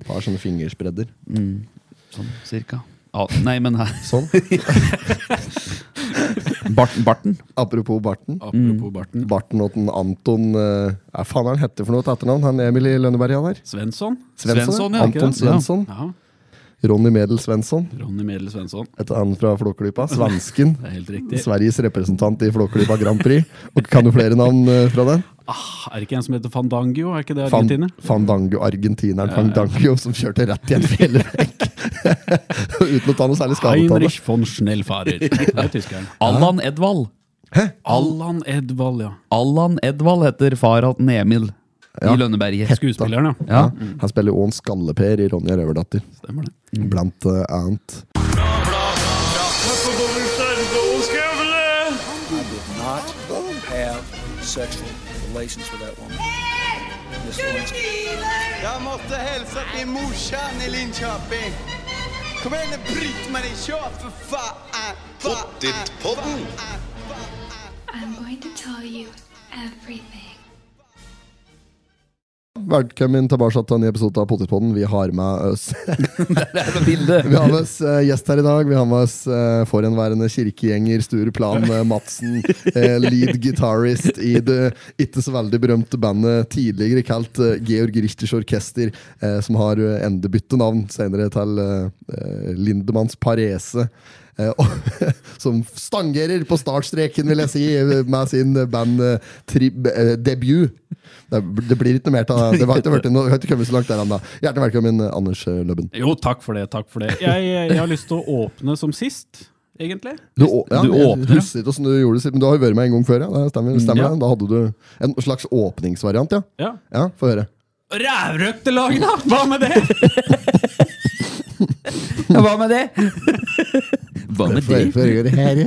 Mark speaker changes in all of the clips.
Speaker 1: Et par sånne fingerspredder.
Speaker 2: Mm. Sånn cirka. Ah, nei, men her
Speaker 1: Sånn.
Speaker 2: Bart, Barten.
Speaker 1: Apropos barten.
Speaker 3: Apropos barten.
Speaker 1: Barten og den Anton eh, Hva faen er han hette for noe til etternavn? Han Emil i Lønneberg han der?
Speaker 3: Svensson?
Speaker 1: Svensson,
Speaker 3: ja, ikke
Speaker 1: Anton
Speaker 3: det?
Speaker 1: Svensson.
Speaker 3: Ja.
Speaker 1: Ronny Medel Svensson.
Speaker 3: ja. Ronny Medel Svensson.
Speaker 1: Et han fra Flåklypa. Svensken.
Speaker 3: Det er helt riktig.
Speaker 1: Sveriges representant i Flåklypa Grand Prix. Og kan du flere navn eh, fra den?
Speaker 3: Ah, er det ikke en som heter Fandangio? Er ikke det
Speaker 1: Fan,
Speaker 3: Argentina?
Speaker 1: Fandango, argentineren Fandango som kjørte rett i en fjellvegg. Uten å ta noe særlig skade av det.
Speaker 3: Heinrich von Schnellfarer. Det er tyskeren.
Speaker 2: Allan Edvald.
Speaker 3: Allan Edvald, ja.
Speaker 2: Allan Edvald heter far til Emil i Lønneberget.
Speaker 3: Skuespilleren, ja.
Speaker 2: Ja.
Speaker 1: Han spiller jo en Skalleper i Ronja Røverdatter,
Speaker 3: Stemmer det.
Speaker 1: blant eh, annet.
Speaker 4: not have sexual relations with that woman. Miss Lewinsky.
Speaker 5: Jeg måtte hilse til morsan i Linköping. Kom igjen, Britt-Marie, kjør, for faen! Pottitpodden!
Speaker 6: I'm going to tell you everything.
Speaker 1: Velkommen tilbake til en ny episode av Potetpodden. Vi har med oss
Speaker 2: Bilde.
Speaker 1: Vi har med oss eh, gjest her i dag. Vi har med oss eh, forhenværende kirkegjenger Sture Plan eh, Madsen. eh, lead guitarist i det ikke så veldig berømte bandet tidligere kalt eh, Georg Richters Orkester, eh, som har eh, endebyttet navn senere til eh, Lindemanns Parese. Eh, og, som stangerer på startstreken, vil jeg si, med sin eh, banddebut. Det, det blir ikke noe mer til det. Det har ikke vært noe- det har ikke kommet så langt der ennå. Hjertelig velkommen, Anders eh, Løbben.
Speaker 3: Jo, takk for det. takk for det. Jeg, jeg, har lyst til å åpne som sist, egentlig.
Speaker 1: Du, å- ja,
Speaker 2: Du
Speaker 1: jeg
Speaker 2: åpner, ja.
Speaker 1: husker ikke hvordan du gjorde det, sist, men du har jo vært med en gang før. ja, det stemmer, stemmer
Speaker 3: Ja.
Speaker 1: det. Da hadde du en slags åpningsvariant, ja.
Speaker 3: Ja.
Speaker 1: Ja, Få høre.
Speaker 3: Rævrøktelaget, da! Hva med det?
Speaker 2: Ja, hva med det? Hva med
Speaker 1: Få
Speaker 2: det?
Speaker 1: høre- få høre det her, ja.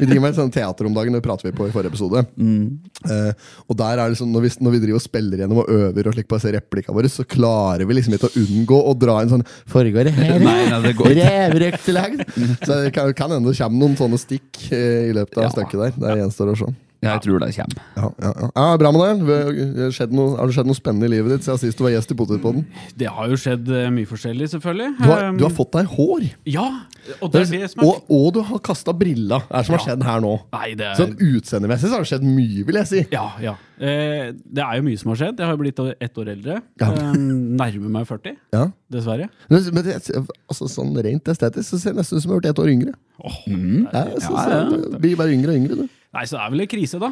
Speaker 1: Vi driver med et sånt teater om dagen, det prater vi på i forrige episode.
Speaker 2: Mm.
Speaker 1: Eh, og der er det sånn, når vi, når vi driver og spiller gjennom og øver, og slik på disse replikkene våre, så klarer vi liksom ikke å unngå å dra inn sånn Foregår det her,
Speaker 2: Nei, nei, det går ikke.
Speaker 1: Revrøktelag! Så det kan, kan hende det kommer noen sånne stikk eh, i løpet av
Speaker 2: Ja.
Speaker 1: stykket der. Det gjenstår å se.
Speaker 2: Jeg tror det kommer.
Speaker 1: Ja, ja, ja. ja bra med deg. Vi- det har skjedd noe- Har det skjedd noe spennende i livet ditt siden sist du var gjest i Potetpodden?
Speaker 3: Det har jo skjedd eh, mye forskjellig, selvfølgelig.
Speaker 1: Du har, du har
Speaker 3: Um,
Speaker 1: fått deg hår!
Speaker 3: Ja, og det er det som er
Speaker 1: og, og du har kasta brilla. Hva er det som har skjedd her nå?
Speaker 3: Nei, det er
Speaker 1: Sånn Utseendemessig så har det skjedd mye, vil jeg si.
Speaker 3: Eh, Ja, ja. Eh, det er jo mye som har skjedd. Jeg har jo blitt ett år eldre.
Speaker 1: Ja.
Speaker 3: Eh, nærmer meg 40,
Speaker 1: Ja.
Speaker 3: dessverre.
Speaker 1: Men men det, altså, sånn rent estetisk så ser det nesten ut som jeg har vært ett år yngre.
Speaker 3: Åh,
Speaker 1: Ja, så, så, du blir bare yngre og yngre, du.
Speaker 3: Nei, så det er vel en krise, da.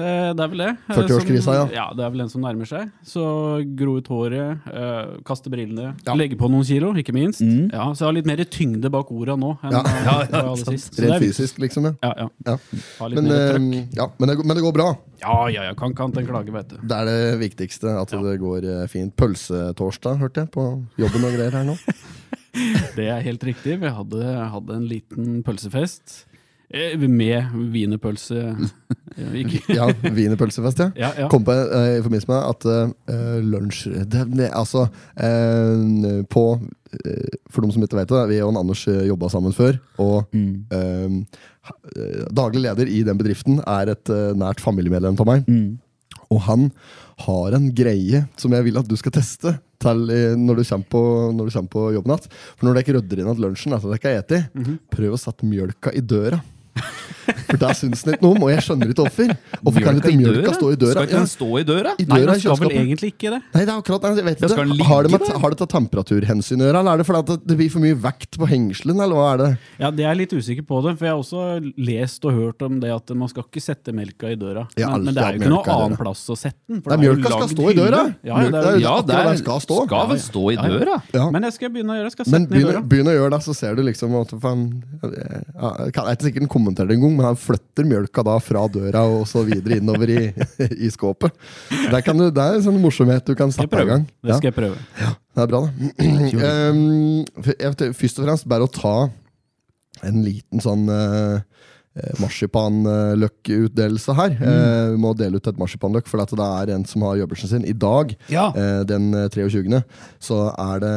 Speaker 3: Eh, Det er vel det. Eh,
Speaker 1: 40-årskrisa,
Speaker 3: som-
Speaker 1: ja.
Speaker 3: Ja, Det er vel en som nærmer seg. Så gro ut håret, eh, kaste brillene, legge på noen kilo, ikke minst. Ja, Så jeg har litt mer tyngde bak orda nå enn
Speaker 1: Mhm. Ja. Sånn
Speaker 3: eh, hva jeg hadde sist. Så det
Speaker 1: Rent
Speaker 3: er-
Speaker 1: fysisk, liksom. Ja.
Speaker 3: Ja, ja.
Speaker 1: Ja.
Speaker 3: Ha litt
Speaker 1: Men,
Speaker 3: mer trøkk.
Speaker 1: eh, ja, men, det, går- men det går bra.
Speaker 3: Ja, ja, ja. Kan kan til en klage, vet du.
Speaker 1: Det er det viktigste. At det går eh, fint. Pølsetorsdag, hørte jeg, på jobben og greier her nå.
Speaker 3: Det er helt riktig. Vi hadde, hadde en liten pølsefest. eh, Med wienerpølse eh, ikke-
Speaker 1: Ja, Wienerpølsefest, ja.
Speaker 3: Ja, ja.
Speaker 1: Kom på eh, i forbindelse med at eh, lunsj det, det, Altså, eh, på eh, For dem som ikke vet det, vi og en Anders eh, jobba sammen før. Og eh, ha- eh, daglig leder i den bedriften er et eh, nært familiemedlem av meg. Og han har en greie som jeg vil at du skal teste til, eh, når, du kommer på, når du kommer på jobben igjen. For når dere rydder inn at lunsjen altså, etter at dere har spist, prøv å sette mjølka i døra. For der syns den ikke noe om, og jeg skjønner ikke hvorfor. Hvorfor kan ikke mjølka stå i døra?
Speaker 2: Skal ikke
Speaker 1: Ja.
Speaker 2: den stå i døra?
Speaker 1: I
Speaker 3: Nei,
Speaker 1: døra
Speaker 3: den
Speaker 1: i
Speaker 3: skal vel
Speaker 1: kjøleskapet.
Speaker 3: egentlig ikke det.
Speaker 1: Nei, det er akkurat det. Jeg vet
Speaker 2: Ja, skal den
Speaker 1: ikke. Har det med,
Speaker 2: ligge der?
Speaker 1: har det tatt temperaturhensyn å gjøre, eller er det fordi at det blir for mye vekt på hengselen, eller hva er det?
Speaker 3: Ja, Det er jeg litt usikker på, det, for jeg har også lest og hørt om det at man skal ikke sette melka i døra.
Speaker 1: Jeg har
Speaker 3: Men, men det er
Speaker 1: alltid hatt
Speaker 3: jo ikke
Speaker 1: melka
Speaker 3: noe
Speaker 1: i
Speaker 3: annen
Speaker 1: døra.
Speaker 3: plass å sette den. for
Speaker 1: Nei,
Speaker 3: det er jo
Speaker 1: mjølka skal
Speaker 3: lagd
Speaker 1: stå i
Speaker 3: hylle.
Speaker 1: døra.
Speaker 3: Ja, ja, det
Speaker 1: Mjølka
Speaker 3: er,
Speaker 1: er
Speaker 3: jo-
Speaker 2: Ja,
Speaker 1: akkurat
Speaker 2: der
Speaker 1: den skal stå.
Speaker 2: Skal vel stå i døra?
Speaker 1: Ja.
Speaker 3: Men jeg skal begynne å gjøre det. Jeg skal
Speaker 1: Men
Speaker 3: sette den i
Speaker 1: begynn,
Speaker 3: døra.
Speaker 1: begynn å gjøre det, så ser du liksom at faen, jeg, jeg kan- jeg er ikke sikkert han kommenterer det engang, men han flytter mjølka da fra døra og så videre innover i, i skåpet. Der kan du, det er en sånn morsomhet du kan
Speaker 3: Skal jeg
Speaker 1: sette i
Speaker 3: prøve.
Speaker 1: gang.
Speaker 3: Det
Speaker 1: Ja.
Speaker 3: skal jeg prøve.
Speaker 1: Det er bra, det. um, f- jeg vet- først og fremst bare å ta en liten sånn eh, eh, marsipanløkkutdelelse her.
Speaker 2: Mm.
Speaker 1: Eh, vi må dele ut et marsipanløk, for at det er en som har jobbelsen sin i dag.
Speaker 2: Ja.
Speaker 1: Eh, den eh, 23. så er det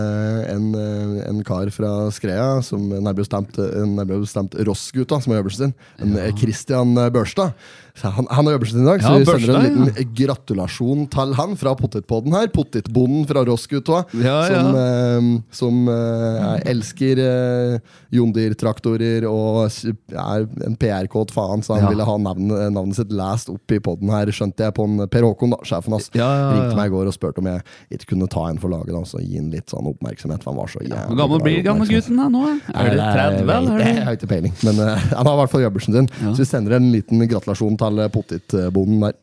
Speaker 1: en, eh, en kar fra Skrea, som nærmere bestemt, eh, nærmere bestemt Ross-gutta, som har jobbelsen sin. En, eh, Christian eh, Børstad. Så Han, han har jobbelsen sin i dag, så
Speaker 2: Ja,
Speaker 1: vi sender en
Speaker 2: Børstad,
Speaker 1: liten gratulasjon til han fra potetpodden her. Potetbonden fra Ross-gutta,
Speaker 2: Ja, ja.
Speaker 1: som, eh, som eh, er- elsker eh, John Deere-traktorer og s- er en PR-kåt faen, så han
Speaker 2: Ja.
Speaker 1: ville ha navnet, navnet sitt last opp i podden her, skjønte jeg på en eh, Per Håkon, da, sjefen hans.
Speaker 2: Ja, ja, ja.
Speaker 1: Ringte meg i går og spurte om jeg ikke kunne ta en for laget da, og så gi han litt sånn oppmerksomhet, for han var så jævlig
Speaker 2: Hvor gammel
Speaker 1: glad i
Speaker 2: blir
Speaker 1: oppmerksomhet.
Speaker 2: gammelgutten da nå? Er det
Speaker 1: Eh, Nei,
Speaker 2: 30,
Speaker 1: jeg vet
Speaker 2: eller?
Speaker 1: ikke, Jeg har ikke peiling, men eh, han har i hvert fall jobbelsen sin. Så vi sender en liten gratulasjon til eh, potetbonden der.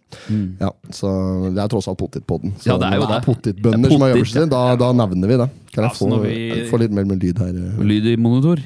Speaker 1: Ja, så Det er tross alt potetpodden. Så
Speaker 2: Mm. Ja, det er jo
Speaker 1: når
Speaker 2: det.
Speaker 1: er potetbønder som har
Speaker 2: Potet,
Speaker 1: jobbelsen sin. Da, da nevner vi det. Kan jeg
Speaker 3: Ja, så
Speaker 1: få,
Speaker 3: når vi-
Speaker 1: få litt mer med lyd her? eh?
Speaker 2: Lyd i monitor.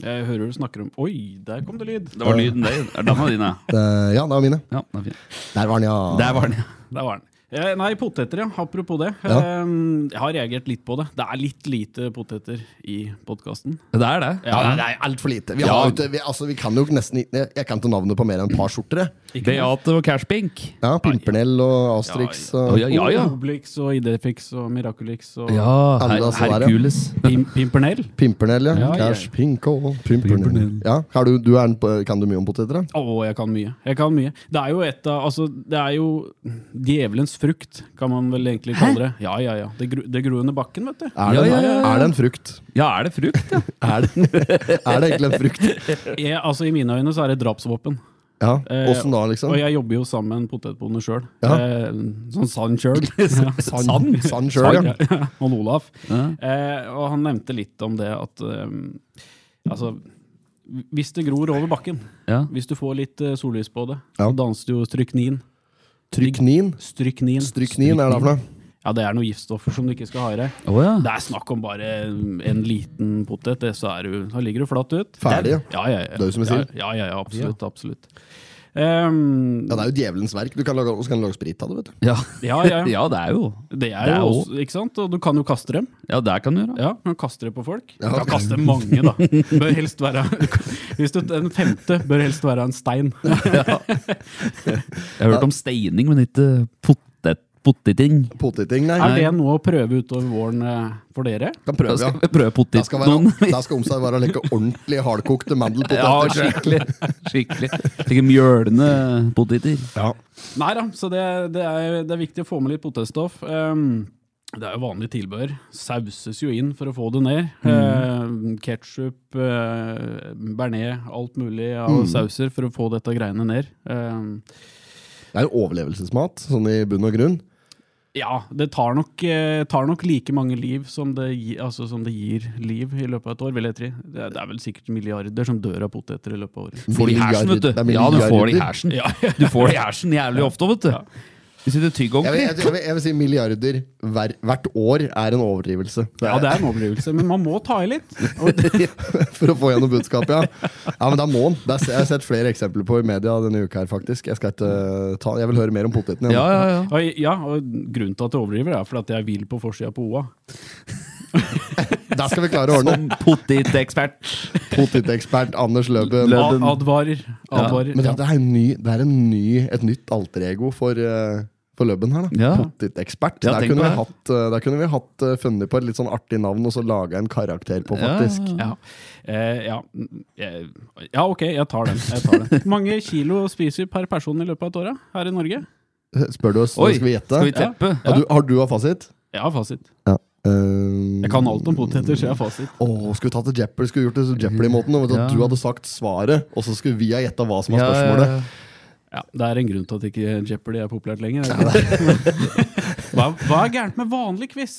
Speaker 3: Jeg hører du snakker om Oi, der kom det lyd!
Speaker 2: Det var lyden der. Er den av dine?
Speaker 1: Eh, ja, det var mine.
Speaker 2: Ja, den er fin.
Speaker 1: Der var den, ja.
Speaker 2: Der var den, ja.
Speaker 3: Der var den. Eh, Nei, poteter, ja. Apropos det.
Speaker 1: Ja.
Speaker 3: Eh, Jeg har reagert litt på det. Det er litt lite poteter i podkasten.
Speaker 2: Det er det.
Speaker 1: Ja, det er altfor lite. Vi,
Speaker 2: Ja.
Speaker 1: har, jo ikke- vi, altså, vi kan jo nesten ikke Jeg kan ikke navnet på mer enn et par skjorter. jeg.
Speaker 2: Beate og Cashpink.
Speaker 1: Ja, Pimpernell og Asterix.
Speaker 2: Å,
Speaker 1: Og,
Speaker 2: Ja, ja, ja.
Speaker 3: Og Obelix og Idefix og Miraculix og
Speaker 2: Ja,
Speaker 1: Alle
Speaker 2: her,
Speaker 1: disse der, ja.
Speaker 2: Hercules.
Speaker 3: Pim Pimpernell.
Speaker 1: Pimpernell, ja.
Speaker 3: Ja, ja, ja.
Speaker 1: Cash Pinko. Pimpernell. Ja, har du, du er en, på- kan du mye om poteter? da?
Speaker 3: Å, jeg kan mye. Jeg kan mye. Det er jo et av Altså, det er jo djevelens frukt, kan man vel egentlig kalle det. Ja, ja, ja. Det, gro, det gror under bakken, vet du.
Speaker 1: Er,
Speaker 2: Ja,
Speaker 1: det,
Speaker 2: ja, ja, ja.
Speaker 1: er det en frukt?
Speaker 2: Ja, er det frukt, ja?
Speaker 1: Er det, er det egentlig en frukt?
Speaker 3: Jeg, altså, I mine øyne så er det drapsvåpen.
Speaker 1: Ja,
Speaker 3: Eh,
Speaker 1: Åssen da, liksom?
Speaker 3: Og jeg jobber jo sammen med en potetbonde sjøl.
Speaker 1: Ja.
Speaker 3: Eh, sånn sann sjøl. Ja.
Speaker 1: Sand. Sand sjøl, ja.
Speaker 3: Han Olaf.
Speaker 2: Ja.
Speaker 3: Eh, og han nevnte litt om det at eh, Altså, hvis det gror over bakken,
Speaker 2: ja.
Speaker 3: hvis du får litt eh, sollys på det,
Speaker 1: Ja.
Speaker 3: så danser det jo stryknin.
Speaker 1: Tryknin.
Speaker 3: Stryknin.
Speaker 1: Stryknin er det for noe?
Speaker 3: Ja, det er noen giftstoffer som du ikke skal ha i deg.
Speaker 2: Å, ja.
Speaker 3: Det er snakk om bare en liten potet, det, så er du, da ligger du flatt ut.
Speaker 1: Ferdig, ja.
Speaker 3: Ja, ja, ja.
Speaker 1: Det er jo som jeg sier.
Speaker 3: Ja, ja, ja, absolutt. absolutt. Ehm,
Speaker 1: Ja, det er jo djevelens verk. Du kan lage, også kan du lage sprit av det, vet du.
Speaker 2: Ja.
Speaker 3: ja, ja, ja.
Speaker 2: ja, det er jo
Speaker 3: Det er
Speaker 2: Det er
Speaker 3: jo
Speaker 2: jo-
Speaker 3: også, ikke sant? Og du kan jo kaste dem.
Speaker 2: Ja, der kan du gjøre.
Speaker 3: Ja, man kaster det på folk.
Speaker 1: Ja.
Speaker 3: Ja, kaste mange, da. Bør helst være Hvis du Den femte bør helst være en stein.
Speaker 2: Jeg har hørt om steining, men ikke potet, poteting.
Speaker 1: Poteting, nei.
Speaker 3: Er det noe å prøve utover våren eh, for dere?
Speaker 1: Kan
Speaker 2: Da
Speaker 1: prøve, ja.
Speaker 2: skal vi prøve
Speaker 1: Da
Speaker 2: potet
Speaker 1: skal,
Speaker 2: noen.
Speaker 1: være, da skal omsorg være like ordentlig hardkokte
Speaker 2: Ja,
Speaker 1: mandelpoteter.
Speaker 2: skikkelig. skikkelig. Slike mjølende poteter.
Speaker 3: Nei da, så det, det, er, det er viktig å få med litt potetstoff. Ehm, det er jo vanlig tilbehør. Sauses jo inn for å få det ned. Mm. Ketsjup, bearnés, alt mulig av sauser for å få dette greiene ned. Ehm,
Speaker 1: Det er jo overlevelsesmat, sånn i bunn og grunn.
Speaker 3: ja, det tar nok, eh, tar nok like mange liv som det, gi, altså som det gir liv i løpet av et år, vil jeg tro. Det, er- det er vel sikkert milliarder som dør av poteter i løpet av året.
Speaker 2: Får de i hersen, vet
Speaker 1: Det er
Speaker 2: du. Ja, du får de i
Speaker 1: milliarder.
Speaker 2: hersen. Du får de i hersen jævlig ofte, vet du. Hvis du tygger
Speaker 1: Jeg vil,
Speaker 2: ordentlig.
Speaker 1: jeg, jeg, vil, jeg vil si milliarder hver, hvert år er en overdrivelse.
Speaker 3: Ja, det er en overdrivelse, men man må ta i litt. Og,
Speaker 1: For å få gjennom budskapet, ja. Ja, men da må den. Det er- Jeg har sett flere eksempler på i media denne uka her, faktisk. Jeg, skal ikke eh, ta, jeg vil høre mer om potetene.
Speaker 2: Ja, ja, ja.
Speaker 3: og, ja, og grunnen til at jeg overdriver, er fordi at jeg vil på forsida på OA.
Speaker 1: Der skal vi klare å ordne.
Speaker 2: Som potetekspert.
Speaker 1: Potetekspert Anders Løben.
Speaker 2: Lø-
Speaker 3: Ad- Advarer. advarer.
Speaker 1: Men det, det er, en ny, det er en ny, et nytt alter ego for, eh, for Løbben her, da.
Speaker 2: Ja.
Speaker 1: Potetekspert.
Speaker 2: Ja,
Speaker 1: der,
Speaker 2: tenk
Speaker 1: kunne
Speaker 2: på
Speaker 1: vi
Speaker 2: det.
Speaker 1: hatt, eh, der kunne vi hatt eh, funnet på et litt sånn artig navn og så laga en karakter på,
Speaker 2: Ja,
Speaker 1: faktisk.
Speaker 3: Ja. Eh, ja. Mm, jeg- ja, ok, jeg tar den. Jeg tar den. mange kilo spiser vi per person i løpet av et år da, her i Norge?
Speaker 1: Spør du oss,
Speaker 2: Oi,
Speaker 1: skal vi gjette?
Speaker 2: skal vi teppe?
Speaker 1: Ja, du, har du av fasit?
Speaker 3: Jeg har fasit.
Speaker 1: Eh,
Speaker 3: Jeg kan alt om poteter, så jeg har fasit.
Speaker 1: Åh, skulle vi tatt det Jeopardy, skulle vi gjort det så Jeopardy-måten. og vet du,
Speaker 2: Ja.
Speaker 1: at Du hadde sagt svaret, og så skulle vi ha gjetta hva som var
Speaker 2: Ja, ja,
Speaker 1: spørsmålet.
Speaker 2: ja.
Speaker 3: Ja, Det er en grunn til at ikke Jeopardy er populært lenger. er det ikke? hva, hva er gærent med vanlig quiz?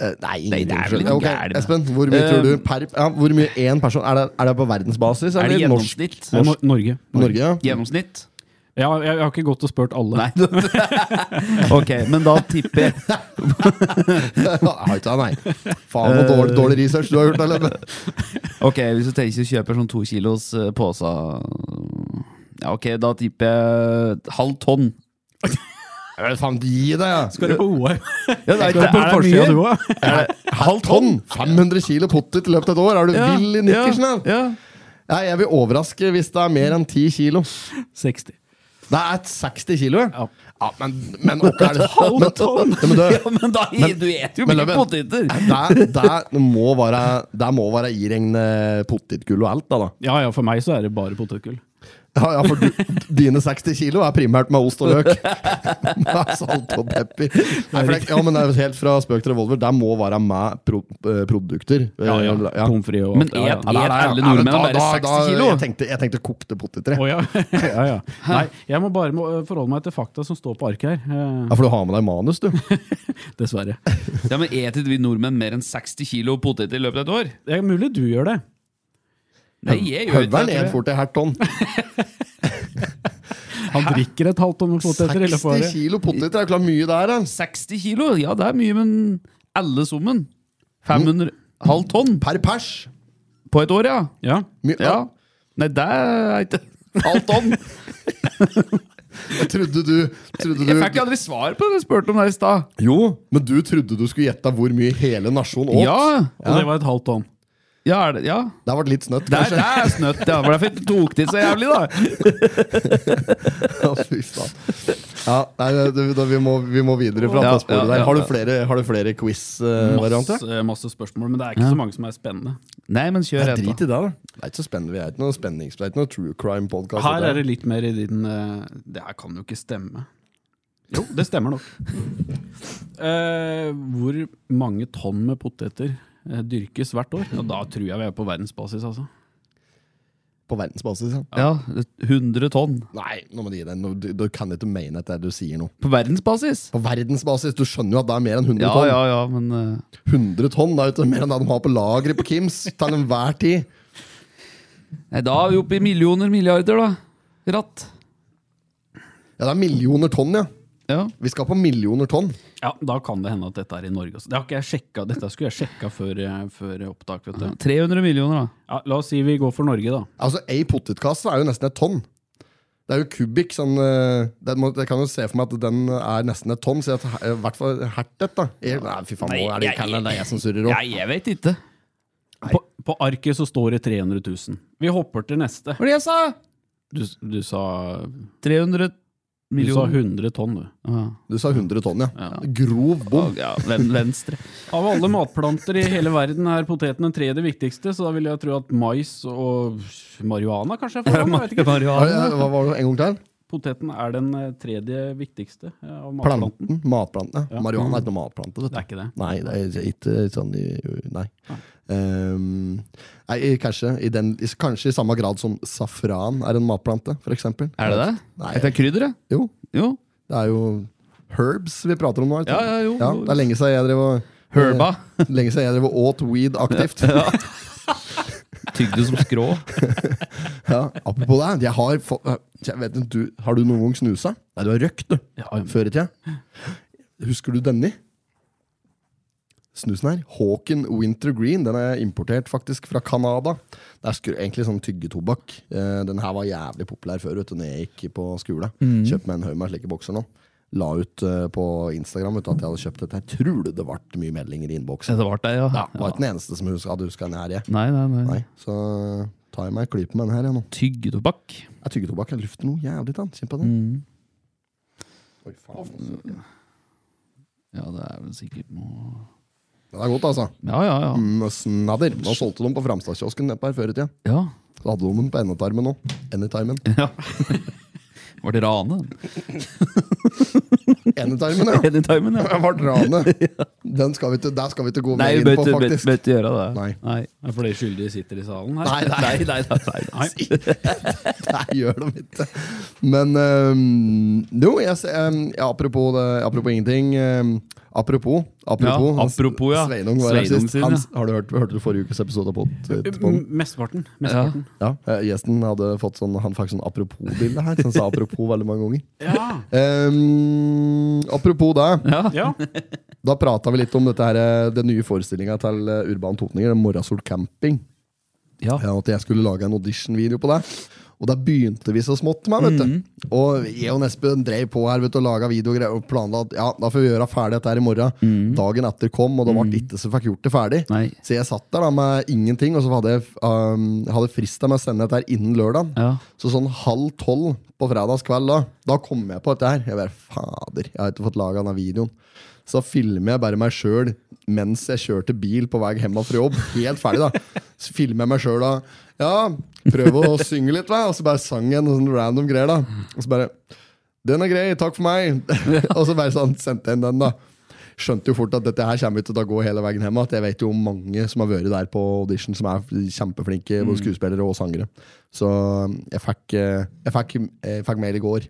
Speaker 1: Eh, nei,
Speaker 2: Nei, det er vel ikke
Speaker 1: Ok,
Speaker 2: gærent, da.
Speaker 1: Espen, hvor mye
Speaker 2: Eh,
Speaker 1: tror du per ja, Hvor mye én person Er det, er det på verdensbasis?
Speaker 2: Er det
Speaker 1: eller norsk-
Speaker 2: gjennomsnitt?
Speaker 3: Nei, Nor- Norge.
Speaker 1: Norge, ja.
Speaker 2: Gjennomsnitt?
Speaker 3: Jeg, har- jeg, jeg har ikke gått og spurt alle.
Speaker 2: Nei. ok, men da tipper jeg
Speaker 1: Har ikke det, nei. Faen, så
Speaker 2: Eh.
Speaker 1: dårlig, dårlig research du har gjort. Eller?
Speaker 2: Ok, hvis du tenker å kjøpe sånn to kilos eh, påsa Ja, ok, da tipper jeg et halvt tonn.
Speaker 1: Jeg vet faen, gi deg, ja.
Speaker 3: Skal du på OL?
Speaker 2: Ja, det er, det
Speaker 3: Er det mye, du òg?
Speaker 2: Er det halvt tonn?
Speaker 1: Tonn! 500 kilo potet i løpet av et år. Er du vill i nikkersen? da?
Speaker 2: Ja.
Speaker 1: Nei, jeg vil overraske hvis det er mer enn 10 kilo.
Speaker 3: 60.
Speaker 1: Det er et 60 kilo,
Speaker 3: Ja.
Speaker 1: ja men, men oppe er det
Speaker 3: halvt tonn.
Speaker 1: Men, men du,
Speaker 2: Ja, men da, e- du et jo
Speaker 1: men
Speaker 2: mye
Speaker 1: Løven,
Speaker 2: poteter!
Speaker 1: der, der må være Der må være iregne potetgull og alt, da. da.
Speaker 3: Ja ja, for meg så er det bare potetgull.
Speaker 1: Ja, ja, for du, dine 60 kilo er primært med ost og løk. Med salt og pepper. Nei, for det, ja, men det er helt fra spøk til revolver. Der må være med pro, eh, produkter.
Speaker 3: ja.
Speaker 1: Ja.
Speaker 3: Pommes frites og
Speaker 2: Men
Speaker 3: alt. Ja, ja.
Speaker 2: et-
Speaker 1: Ja, der, der,
Speaker 2: alle
Speaker 1: ja. Nei, men
Speaker 2: nordmenn
Speaker 1: da-
Speaker 2: bare
Speaker 1: da-
Speaker 2: 60
Speaker 1: da-
Speaker 2: kilo?
Speaker 1: Jeg tenkte, jeg tenkte kokte poteter. jeg.
Speaker 3: Å, ja. ja, ja. Nei, jeg må bare må øh, forholde meg til fakta som står på arket her.
Speaker 1: Ja, for du har med deg manus, du.
Speaker 3: Eh, Dessverre.
Speaker 2: Ja, men Et ikke vi nordmenn mer enn 60 kilo poteter i løpet av et år?
Speaker 3: Det er mulig du gjør det.
Speaker 2: Nei, jeg gjør ikke
Speaker 1: Høvelen
Speaker 2: det.
Speaker 1: er fort i hvert tonn.
Speaker 3: Han drikker et halvt tonn med poteter i løpet
Speaker 1: 60
Speaker 3: av året.
Speaker 1: kilo poteter er jo klart mye der, da.
Speaker 2: 60 kilo, ja det er mye, men alle summen. 500 Halv tonn
Speaker 1: Per pers.
Speaker 2: på et år, ja.
Speaker 3: Ja.
Speaker 1: My,
Speaker 2: ja. Nei, det er ikke Halv tonn!
Speaker 1: Jeg trodde du, trodde
Speaker 2: Jeg fikk
Speaker 1: du
Speaker 2: aldri svar på det jeg spurte om der i stad.
Speaker 1: Jo, men du trodde du skulle gjette hvor mye hele nasjonen åt.
Speaker 2: Ja,
Speaker 3: Og det var et halvt tonn.
Speaker 2: ja, er det, ja.
Speaker 1: Det har vært litt snøtt,
Speaker 2: Det er, det
Speaker 1: kanskje.
Speaker 2: er snøtt, ja. Det var derfor jeg tok til så jævlig, da.
Speaker 1: Ja, fy faen. Ja, nei, det, det, vi, må, vi må videre fra
Speaker 2: Ja,
Speaker 1: det sporet
Speaker 2: ja,
Speaker 1: der.
Speaker 2: ja,
Speaker 1: Har du
Speaker 2: ja.
Speaker 1: flere, har du flere quiz-varianter?
Speaker 3: Masse, eh, masse spørsmål, men det er ikke så mange som er spennende.
Speaker 2: Nei, men kjør
Speaker 1: Drit i det,
Speaker 2: etter.
Speaker 1: da. Det er ikke så spennende. Vi er ikke noe spennings... Det er ikke noe true crime-podkast.
Speaker 3: Her er det litt mer i din eh, Det her kan jo ikke stemme. Jo, det stemmer nok. Eh, hvor mange tonn med poteter eh, dyrkes hvert år? Ja, da tror jeg vi er på verdensbasis, altså.
Speaker 1: På verdensbasis, ja.
Speaker 2: Ja, 100 tonn.
Speaker 1: Nei, nå må du gi deg. Nå- Du, du kan ikke mene at det er du sier noe.
Speaker 2: På verdensbasis.
Speaker 1: På verdensbasis, Du skjønner jo at det er mer enn 100
Speaker 2: Ja,
Speaker 1: tonn.
Speaker 2: ja, ja, men eh,
Speaker 1: 100 tonn det er jo ikke mer enn det de har på lageret på Kims til enhver tid.
Speaker 2: Nei, da er vi oppe i millioner, milliarder, da. Ratt.
Speaker 1: Ja, det er millioner tonn, ja.
Speaker 2: Ja.
Speaker 1: Vi skal på millioner tonn.
Speaker 3: Ja, Da kan det hende at dette er i Norge. Altså. Det har ikke jeg sjekka. Dette skulle jeg sjekka før, eh, før opptak. vet du.
Speaker 2: 300 millioner, da.
Speaker 3: Ja, la oss si vi går for Norge, da.
Speaker 1: Altså, Ei potetkasse er jo nesten et tonn. Det er jo kubikk. Sånn, eh, det må, jeg kan jo se for meg at den er nesten et tonn. Så jeg, tar- eh, i hvert fall hertet, da. Jeg, nei, fy faen,
Speaker 2: Nei,
Speaker 1: nå er det
Speaker 2: jeg-
Speaker 1: kallen, det er jeg som surrer òg.
Speaker 2: Nei, jeg vet ikke.
Speaker 3: På, på arket så står det 300 000. Vi hopper til neste.
Speaker 2: Hva var det jeg sa?
Speaker 3: Du, du sa Du
Speaker 2: 300
Speaker 3: sa 100
Speaker 2: millioner.
Speaker 3: tonn, du.
Speaker 2: Ah.
Speaker 1: Du sa 100 tonn, ja. Grov bom.
Speaker 2: Ja, ven- venstre.
Speaker 3: Av alle matplanter i hele verden er poteten den tredje viktigste, så da vil jeg tro at mais og marihuana kanskje er foran. Jeg vet ikke.
Speaker 1: Hva
Speaker 2: Marihuana.
Speaker 1: hva var det en gang til?
Speaker 3: Poteten er den eh, tredje viktigste eh, av matplanten.
Speaker 1: Planten. Matplanten. Ja. Marihuana er ikke noe matplante. vet
Speaker 3: Det
Speaker 1: du.
Speaker 3: er ikke det.
Speaker 1: Nei, det er ikke sånn i- Nei. Ehm, nei kanskje, i den, i- kanskje i samme grad som safran er en matplante, for eksempel.
Speaker 2: Er det det?
Speaker 1: Nei.
Speaker 2: Er det krydder, ja?
Speaker 1: Jo,
Speaker 2: Jo.
Speaker 1: det er jo herbs vi prater om nå. er det ikke?
Speaker 2: Ja, ja, jo.
Speaker 1: det er lenge siden jeg drev og
Speaker 2: Herba.
Speaker 1: eh, Lenge siden jeg drev og åt weed aktivt.
Speaker 2: Tygg du som skrå.
Speaker 1: Ja, apropos det, jeg har fått jeg vet, ikke, du, Har du noen gang snusa? Nei, du har røkt, du. Før i tida. Husker du denne? Snusen her. Hawken Winter Green. Den er importert faktisk fra Canada. Det er skru- egentlig sånn tyggetobakk. Eh, Den her var jævlig populær før, vet du, når jeg gikk på skole. Kjøpte meg en haug med slike bokser nå. La ut eh, på Instagram vet du, at jeg hadde kjøpt dette. Jeg tror det det ble mye meldinger i innboksen.
Speaker 2: Det ble det, ja. Mm.
Speaker 1: Det var ikke den eneste som hus- hadde huska den her, jeg.
Speaker 2: Nei, nei, nei.
Speaker 1: Nei, så eh, tar jeg meg en klype med den her, jeg nå.
Speaker 2: Tyggetobakk.
Speaker 1: Jeg tygger tobakk. Jeg lufter noe jævlig. da. Kjenn på det.
Speaker 2: Mm.
Speaker 1: Oi, faen.
Speaker 2: Ja, det er vel sikkert noe
Speaker 1: Det er godt, altså.
Speaker 2: Ja, ja, ja.
Speaker 1: Mm, snadder. Nå solgte de på Framstadkiosken nedpå her før i tida.
Speaker 2: ja.
Speaker 1: Så hadde de den på endetarmen òg. Endetarmen.
Speaker 2: ja. Var det rane?
Speaker 1: Endetarmen, ja!
Speaker 2: Anytimen, ja.
Speaker 1: Jeg ble ranet. Den skal vi ikke, der skal vi ikke gå
Speaker 2: Nei,
Speaker 1: mer
Speaker 2: vi
Speaker 1: inn
Speaker 2: bør
Speaker 1: på,
Speaker 2: ikke- bør-
Speaker 1: faktisk.
Speaker 2: bør ikke gjøre det.
Speaker 1: Nei.
Speaker 2: Nei.
Speaker 3: Er for de skyldige sitter i salen her?
Speaker 1: Nei, nei,
Speaker 2: Nei, nei, nei, nei, nei.
Speaker 1: nei, gjør de ikke. Men øhm, jo, jeg, ser- øhm, ja, apropos, det, apropos ingenting. øhm, apropos. apropos
Speaker 2: Ja, apropos, ja.
Speaker 1: Sveinung var her
Speaker 2: Sveinung
Speaker 1: sist.
Speaker 2: sin, ja. Eh,
Speaker 1: Hans, har du hørt, hørte du forrige ukes episode av Pod?
Speaker 3: M- Mesteparten.
Speaker 2: Ja.
Speaker 3: mesteparten.
Speaker 1: Ja, eh, Gjesten hadde fått sånn, han fikk sånn apropos-bilde her. Så han sa apropos veldig mange ganger.
Speaker 3: Ja.
Speaker 1: Ehm, apropos det,
Speaker 2: Ja.
Speaker 3: Ja.
Speaker 1: da prata vi litt om dette her, eh, den nye forestillinga til eh, Urban Totninger, Morrasol camping.
Speaker 2: Ja.
Speaker 1: ja, at jeg skulle lage en auditionvideo på deg. Og da begynte vi så smått. Med, vet du. Og jeg og Espen drev på her vet du, og laga videogreier og planla at ja, da får vi gjøre ferdig dette her i morgen. Dagen etter kom, og det ble ikke så fikk gjort det ferdig.
Speaker 2: Nei.
Speaker 1: Så jeg satt der da med ingenting, og så hadde jeg um, hadde frist med å sende dette her innen lørdag.
Speaker 2: Ja.
Speaker 1: Så sånn halv tolv på fredagskveld, da, da kom jeg på dette her. Jeg bare, fader, jeg har ikke fått laga denne videoen. Så da filmer jeg bare meg sjøl mens jeg kjørte bil på vei hjem fra jobb. Helt ferdig, da. Så filmer jeg meg sjøl da. Ja, prøv å synge litt, da. Og så bare sang jeg noen sånne random greier, da. Og så bare Den er grei, takk for meg. og så bare sånn sendte jeg inn den, da. Skjønte jo fort at dette her kommer ikke til å gå hele veien hjem. At jeg vet jo om mange som har vært der på audition, som er kjempeflinke både skuespillere og sangere. Så jeg fikk, eh, jeg fikk, jeg fikk mail i går.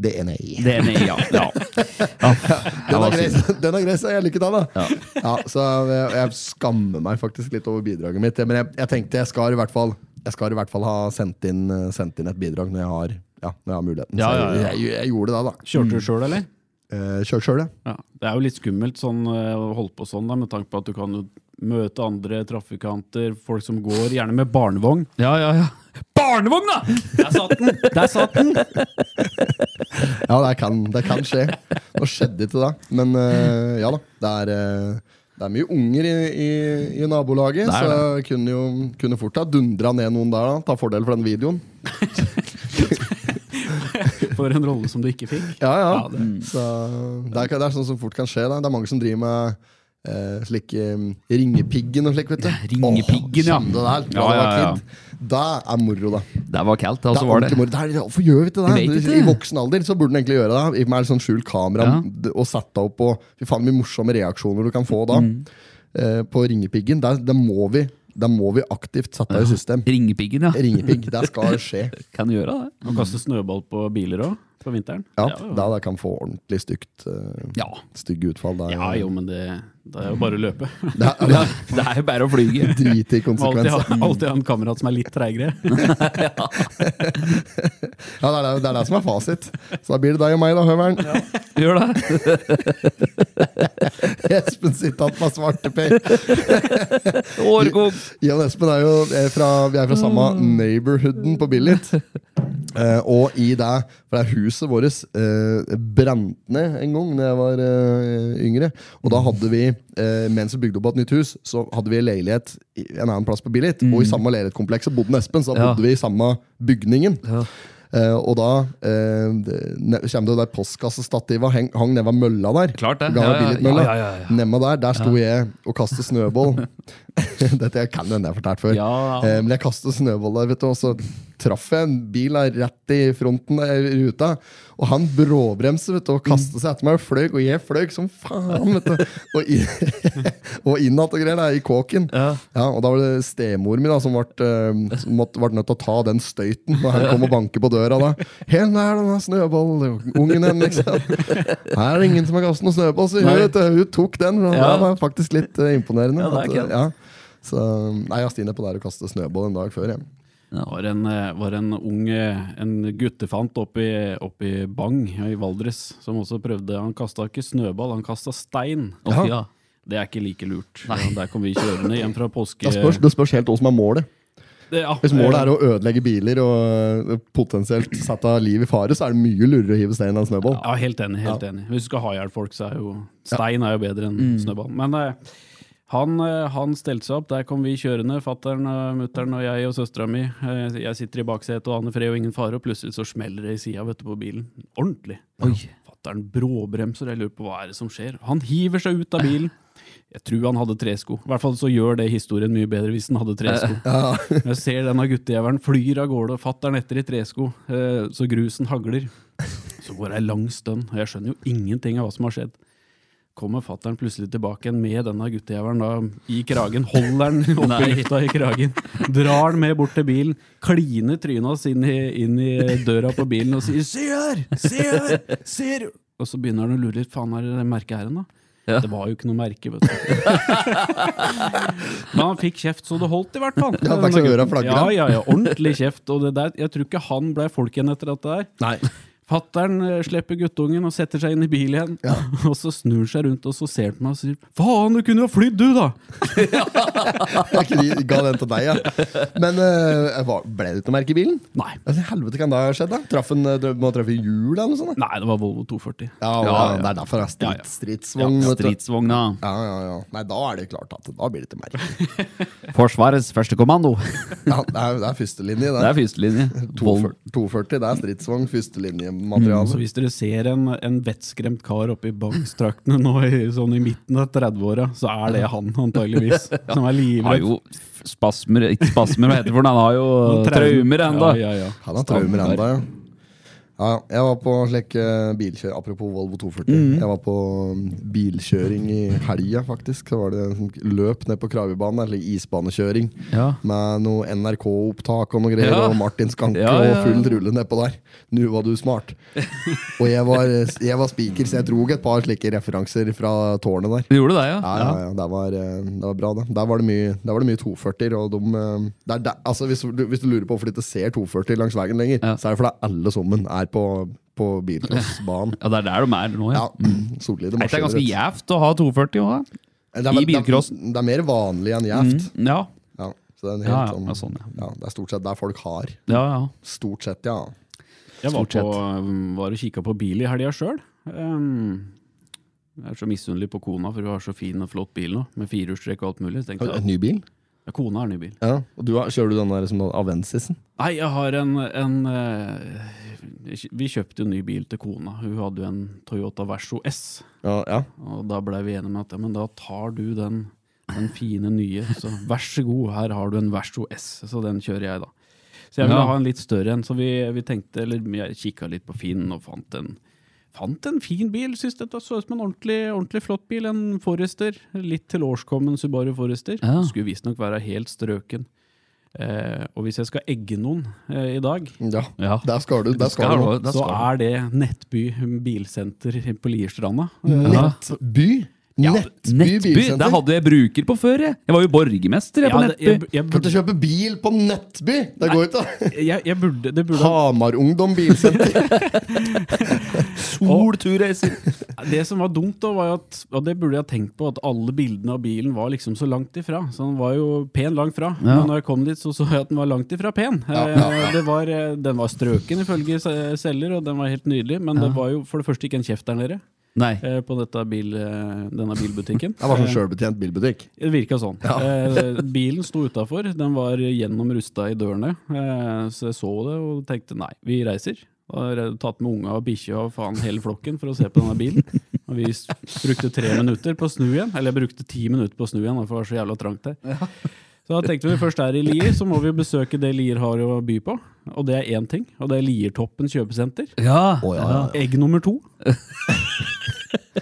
Speaker 1: Det er nei.
Speaker 2: Det er nei, ja. ja.
Speaker 1: Den
Speaker 2: hva
Speaker 1: er grei,
Speaker 2: synes
Speaker 1: den er grei, så jeg liker den, da.
Speaker 2: Ja.
Speaker 1: Ja. så jeg, jeg skammer meg faktisk litt over bidraget mitt. Men jeg, jeg tenkte jeg skal i hvert fall Jeg skal i hvert fall ha sendt inn, eh, sendt inn et bidrag når jeg har, ja, når jeg har muligheten.
Speaker 3: Ja, ja,
Speaker 1: Så
Speaker 3: ja.
Speaker 1: jeg, jeg, jeg gjorde det, da.
Speaker 3: Kjørte du sjøl, eller?
Speaker 1: Eh, Kjør sjøl, jeg.
Speaker 3: Mm. Ja. Det er jo litt skummelt sånn, eh, å holde på sånn, da, med tanke på at du kan jo møte andre trafikanter, folk som går, gjerne med barnevogn.
Speaker 2: ja, ja, ja. Barnevogn, da!
Speaker 3: Der satt den! Der satt den!
Speaker 1: Ja, det kan, det kan skje. Nå skjedde ikke det, men eh, ja da. Det er, eh, det er mye unger i, i, i nabolaget,
Speaker 2: Det er
Speaker 1: så jeg kunne jo kunne fort ha dundra ned noen der. da Ta fordel for den videoen.
Speaker 3: For en rolle som du ikke fikk.
Speaker 1: Ja, ja.
Speaker 3: Ja, det-
Speaker 1: Så det er, ikke- det er sånn som fort kan skje. Da. Det er mange som driver med eh, slik eh, Ringepiggen og slik, vet du.
Speaker 2: Ringepiggen, ja.
Speaker 1: Åh, kjenne det der,
Speaker 2: Ja,
Speaker 1: da det
Speaker 2: ja, ja.
Speaker 1: var kid. Det er moro, da.
Speaker 2: Det var kaldt,
Speaker 1: Det
Speaker 2: og så
Speaker 1: er
Speaker 2: var det
Speaker 1: ordentlig moro. Det er- Hvorfor gjør vi ikke
Speaker 2: Vi
Speaker 1: det?
Speaker 2: vet ikke.
Speaker 1: I voksen alder så burde en egentlig gjøre det. Ikke med sånn skjult kamera
Speaker 2: Ja.
Speaker 1: d- og sette opp og Fy faen, hvor morsomme reaksjoner du kan få da.
Speaker 2: Mm.
Speaker 1: Eh, på Ringepiggen. Der, der, må vi, der må vi aktivt sette i system.
Speaker 2: Ringepiggen, ja.
Speaker 1: Ringepigg, det skal skje.
Speaker 2: Kan gjøre det.
Speaker 3: Og kaste snøball på biler òg, på vinteren.
Speaker 1: Ja,
Speaker 3: Det er jo-
Speaker 1: da det kan få ordentlig stygt eh,
Speaker 2: Ja.
Speaker 1: stygge utfall. Det er,
Speaker 3: ja jo, men det, det er jo bare å løpe.
Speaker 1: Det er, det er
Speaker 2: Det er jo bare å flyge.
Speaker 1: drit i
Speaker 3: Alltid ha,
Speaker 1: konsekvenser.
Speaker 3: alltid ha en kamerat som er litt treigere.
Speaker 1: Ja, det, er, det- det er det som er fasit. Så da blir det deg og meg, da, Høveren.
Speaker 2: Gjør det.
Speaker 1: Espen sitter igjen med svarteper.
Speaker 2: Årgård.
Speaker 1: Jeg og Espen er jo eh, fra, vi er fra samme
Speaker 2: Mm.
Speaker 1: neighborhooden på Billit. Eh, og i det, for det huset vårt eh, brant ned en gang da jeg var eh, yngre. Og da hadde vi, eh, mens vi bygde opp et nytt hus, så hadde vi en leilighet i en annen plass på Billit. Og i samme leilighetskomplekset bodde Espen, så da
Speaker 2: Mm. Ja.
Speaker 1: bodde vi i samme bygningen.
Speaker 2: Ja.
Speaker 1: Eh, og da eh, det- ne, kommer det der postkassestativet hang, hang nede ved mølla der.
Speaker 2: Klart det.
Speaker 1: Gamle
Speaker 2: Ja, ja,
Speaker 1: Billit-mølla.
Speaker 2: ja, ja, ja.
Speaker 1: Nemme der, der sto jeg og kastet snøball. Dette kan hende jeg har fortalt før.
Speaker 2: Ja.
Speaker 1: Eh, Men jeg kastet snøball der, vet du, og så traff jeg en bil der rett i fronten der, i ruta. Og han bråbremser vet du, og kastet seg etter meg og fløy, og jeg fløy som faen. vet du. Og, i- og innat og greier da, i kåken.
Speaker 2: Ja.
Speaker 1: og da var det stemor mi da, som ble, eh, som måtte- ble nødt til å ta den støyten når han kom og banket på døra. da. 'Hvor er denne snøballungen hen?' liksom. Her er det ingen som har kastet noen snøball, så hun,
Speaker 2: Nei.
Speaker 1: vet du, hun tok den. og
Speaker 2: Ja.
Speaker 1: Det var faktisk litt eh, imponerende.
Speaker 2: Ja, det er
Speaker 1: at,
Speaker 2: kult.
Speaker 1: eh, ja. Så, nei, jeg har stinnet på det her å kaste snøball en dag før. Jeg.
Speaker 3: Det var en, eh, var en ung eh, en guttefant oppe i Bang i Valdres som også prøvde. Han kasta ikke snøball, han kasta stein.
Speaker 2: Å, fy, ja.
Speaker 3: Det er ikke like lurt. Der kom vi kjørende hjem fra påske...
Speaker 1: Det spørs, det spørs helt hva som er målet.
Speaker 3: Det- ah, ja,
Speaker 1: Hvis målet er å ødelegge biler og eh, potensielt sette liv i fare, så er det mye lurere å hive stein enn snøball.
Speaker 3: Ja, helt enig. helt enig. Hvis du skal ha i hjel folk, så er jo stein er jo bedre enn snøball. Men eh, han, eh, han stelte seg opp. Der kom vi kjørende, fattern, eh, mutter'n og jeg og søstera mi. Eh, jeg sitter i baksetet og aner fred og ingen fare, og plutselig så smeller det i sida på bilen. Ordentlig.
Speaker 2: Oi.
Speaker 3: Fattern bråbremser, jeg lurer på hva er det som skjer. Han hiver seg ut av bilen. Jeg tror han hadde tresko. I hvert fall så gjør det historien mye bedre hvis han hadde tresko. Jeg ser denne guttejævelen flyr av gårde, og fatter'n etter i tresko, eh, så grusen hagler. Så går det ei lang stund, og jeg skjønner jo ingenting av hva som har skjedd. Kommer fatter'n plutselig tilbake igjen med denne guttejævelen da, i kragen. Holder den oppe i lufta i kragen. Drar den med bort til bilen. Kliner trynet hans inn i, inn i døra på bilen og sier 'se her! Se her! Ser du?' Og så begynner han å lure litt. Faen, er det det merket her ennå?
Speaker 2: Ja.
Speaker 3: Det var jo ikke noe merke, vet du. Men han fikk kjeft så det holdt, i hvert fall.
Speaker 1: Ja, det er ikke så øra flagrer.
Speaker 3: Ja, ja, ja, ordentlig kjeft. Og det der, jeg tror ikke han ble folk igjen etter dette der.
Speaker 1: Nei.
Speaker 3: Fattern eh, slipper guttungen og setter seg inn i bil igjen. Og så snur seg rundt og så ser på meg og sier 'faen, du kunne jo flydd, du', da!
Speaker 1: Jeg ikke de ga den til deg, ja. Men eh, hva- ble det ikke noe merke i bilen?
Speaker 3: Nei.
Speaker 1: Hva i helvete kan det ha skjedd? da? Traff en, eh, Må ha truffet hjul eller noe sånt? da?
Speaker 3: Nei, det var Volvo 240.
Speaker 1: Ja,
Speaker 2: ja, ja.
Speaker 1: Det er derfor det er
Speaker 3: Ja, ja.
Speaker 1: strid, stridsvogn. vet du.
Speaker 2: Stridsvogna.
Speaker 1: Ja, ja, ja. Nei, da er det klart at da blir det til merke.
Speaker 2: Forsvarets førstekommando.
Speaker 1: Ja, det er, det er førstelinje,
Speaker 2: Det er
Speaker 1: det.
Speaker 2: førstelinje.
Speaker 1: 240, 240, det er stridsvogn,
Speaker 3: Så
Speaker 2: Mm,
Speaker 1: førstelinjemateriale.
Speaker 3: Altså, hvis dere ser en, en vettskremt kar oppe i bankstraktene nå i, sånn i midten av 30-åra, så er det han antageligvis. Som er
Speaker 2: Har
Speaker 3: livredd.
Speaker 2: jo spasmer Ikke spasmer, hva heter det for noe? Han har jo
Speaker 3: Noen
Speaker 2: traumer ennå.
Speaker 3: Ja, ja, ja.
Speaker 1: Han har traumer
Speaker 2: Standard.
Speaker 1: ennå, ja. Ja, jeg var på slik eh, bilkjør Apropos Volvo 240. Jeg var på mm, bilkjøring i helga, faktisk. Så var det en sånn løp ned på Kragerbanen, eller isbanekjøring,
Speaker 2: Ja.
Speaker 1: med noe NRK-opptak og noe greier,
Speaker 2: Ja.
Speaker 1: og Martin Skanke
Speaker 2: Ja, ja, ja.
Speaker 1: og full rulle nedpå der. Nu var du smart. og jeg var, jeg var speaker, så jeg drog et par slike referanser fra tårnet der.
Speaker 2: Du gjorde det, ja?
Speaker 1: Ja, ja, ja. Det, var, eh, det var bra, det. Der var det mye, der var det mye 240-er. Og de, eh, det er der, altså, hvis, du, hvis du lurer på hvorfor de ikke ser 240 langs veien lenger,
Speaker 2: Ja.
Speaker 1: så er det fordi alle sammen er på, på bilcrossbanen.
Speaker 2: Ja, det er der de er nå,
Speaker 1: Ja,
Speaker 2: ja.
Speaker 1: solide
Speaker 2: Det er
Speaker 1: maskiner.
Speaker 2: ganske gjevt å ha 240 òg, da.
Speaker 1: Det er-
Speaker 2: i bilcrossen.
Speaker 1: Det, er- det er mer vanlig enn gjevt.
Speaker 2: Ja.
Speaker 1: Mhm. Ja, så det er en helt
Speaker 2: Ja, ja,
Speaker 1: sånn,
Speaker 2: ja, sånn, ja.
Speaker 1: ja, Det er stort sett der folk har.
Speaker 2: ja, ja.
Speaker 1: Stort sett, ja.
Speaker 3: Jeg var,
Speaker 2: Stort sett.
Speaker 3: på, um, var og kikka på bil i helga sjøl. jeg er så misunnelig på kona, for hun har så fin og flott bil nå, med firehjulstrekk og alt mulig. Så tenkte
Speaker 1: Har du En
Speaker 3: jeg,
Speaker 1: ny bil?
Speaker 3: ja, kona har ny bil.
Speaker 1: Ja. Og du har, kjører du den der som Avensisen?
Speaker 3: Nei, jeg har en, en eh, Vi kjøpte jo ny bil til kona. Hun hadde jo en Toyota Verso S.
Speaker 1: Ja, ja.
Speaker 3: Og da blei vi enige om at ja, men da tar du den, den fine nye. Så vær så god, her har du en Verso S. Så den kjører jeg, da. Så jeg ville
Speaker 2: Ja.
Speaker 3: ha en litt større en. Så vi, vi tenkte, eller jeg kikka litt på Finn og fant en, fant en fin bil. Syns dette så ut som en ordentlig, ordentlig flott bil. En Forester. Litt tilårskommen Subaru Forester.
Speaker 2: Ja.
Speaker 3: Skulle visstnok være helt strøken. Eh, og hvis jeg skal egge noen eh, i dag,
Speaker 1: ja.
Speaker 2: Ja.
Speaker 1: Der skal du. Der skal
Speaker 2: Skal
Speaker 1: du.
Speaker 2: du- der
Speaker 3: så
Speaker 2: skal du.
Speaker 3: er det Nettby bilsenter på Lierstranda.
Speaker 1: Mm.
Speaker 3: Eh,
Speaker 1: Nettby? Nettby,
Speaker 2: Nettby!
Speaker 1: bilsenter?
Speaker 2: Der hadde jeg bruker på før, jeg. Jeg var jo borgermester jeg, på
Speaker 3: Ja, det- jeg,
Speaker 2: Nettby.
Speaker 3: jeg,
Speaker 1: Kan du
Speaker 3: burde,
Speaker 1: kjøpe bil på Nettby? Det går ikke, da.
Speaker 3: jeg, jeg burde, det burde
Speaker 1: Hamarungdom bilsenter.
Speaker 2: Sol turracer.
Speaker 3: Det som var dumt, da, var jo at, og det burde jeg ha tenkt på, at alle bildene av bilen var liksom så langt ifra. Så den var jo pen langt fra. Men når jeg kom dit, så så jeg at den var langt ifra pen. Eh, Det var, eh, den var strøken ifølge se- selger, og den var helt nydelig. Men det var jo for det første ikke en kjeft der nede
Speaker 2: Nei.
Speaker 3: eh, på dette bil, eh, denne bilbutikken.
Speaker 1: Det var sånn sjølbetjent bilbutikk.
Speaker 3: Det virka sånn. Eh, bilen sto utafor, den var gjennomrusta i dørene. Eh, så jeg så det og tenkte nei, vi reiser. Har eh, tatt med unga og bikkja og faen hele flokken for å se på denne bilen. Og vi s- brukte tre minutter på å snu igjen. Eller jeg brukte ti minutter på å snu igjen, da, for det var så jævla trangt der. Så da tenkte vi først er i Lier, så må vi besøke det Lier har å by på. Og det er én ting, og det er Liertoppen kjøpesenter.
Speaker 2: Ja.
Speaker 3: Egg nummer to.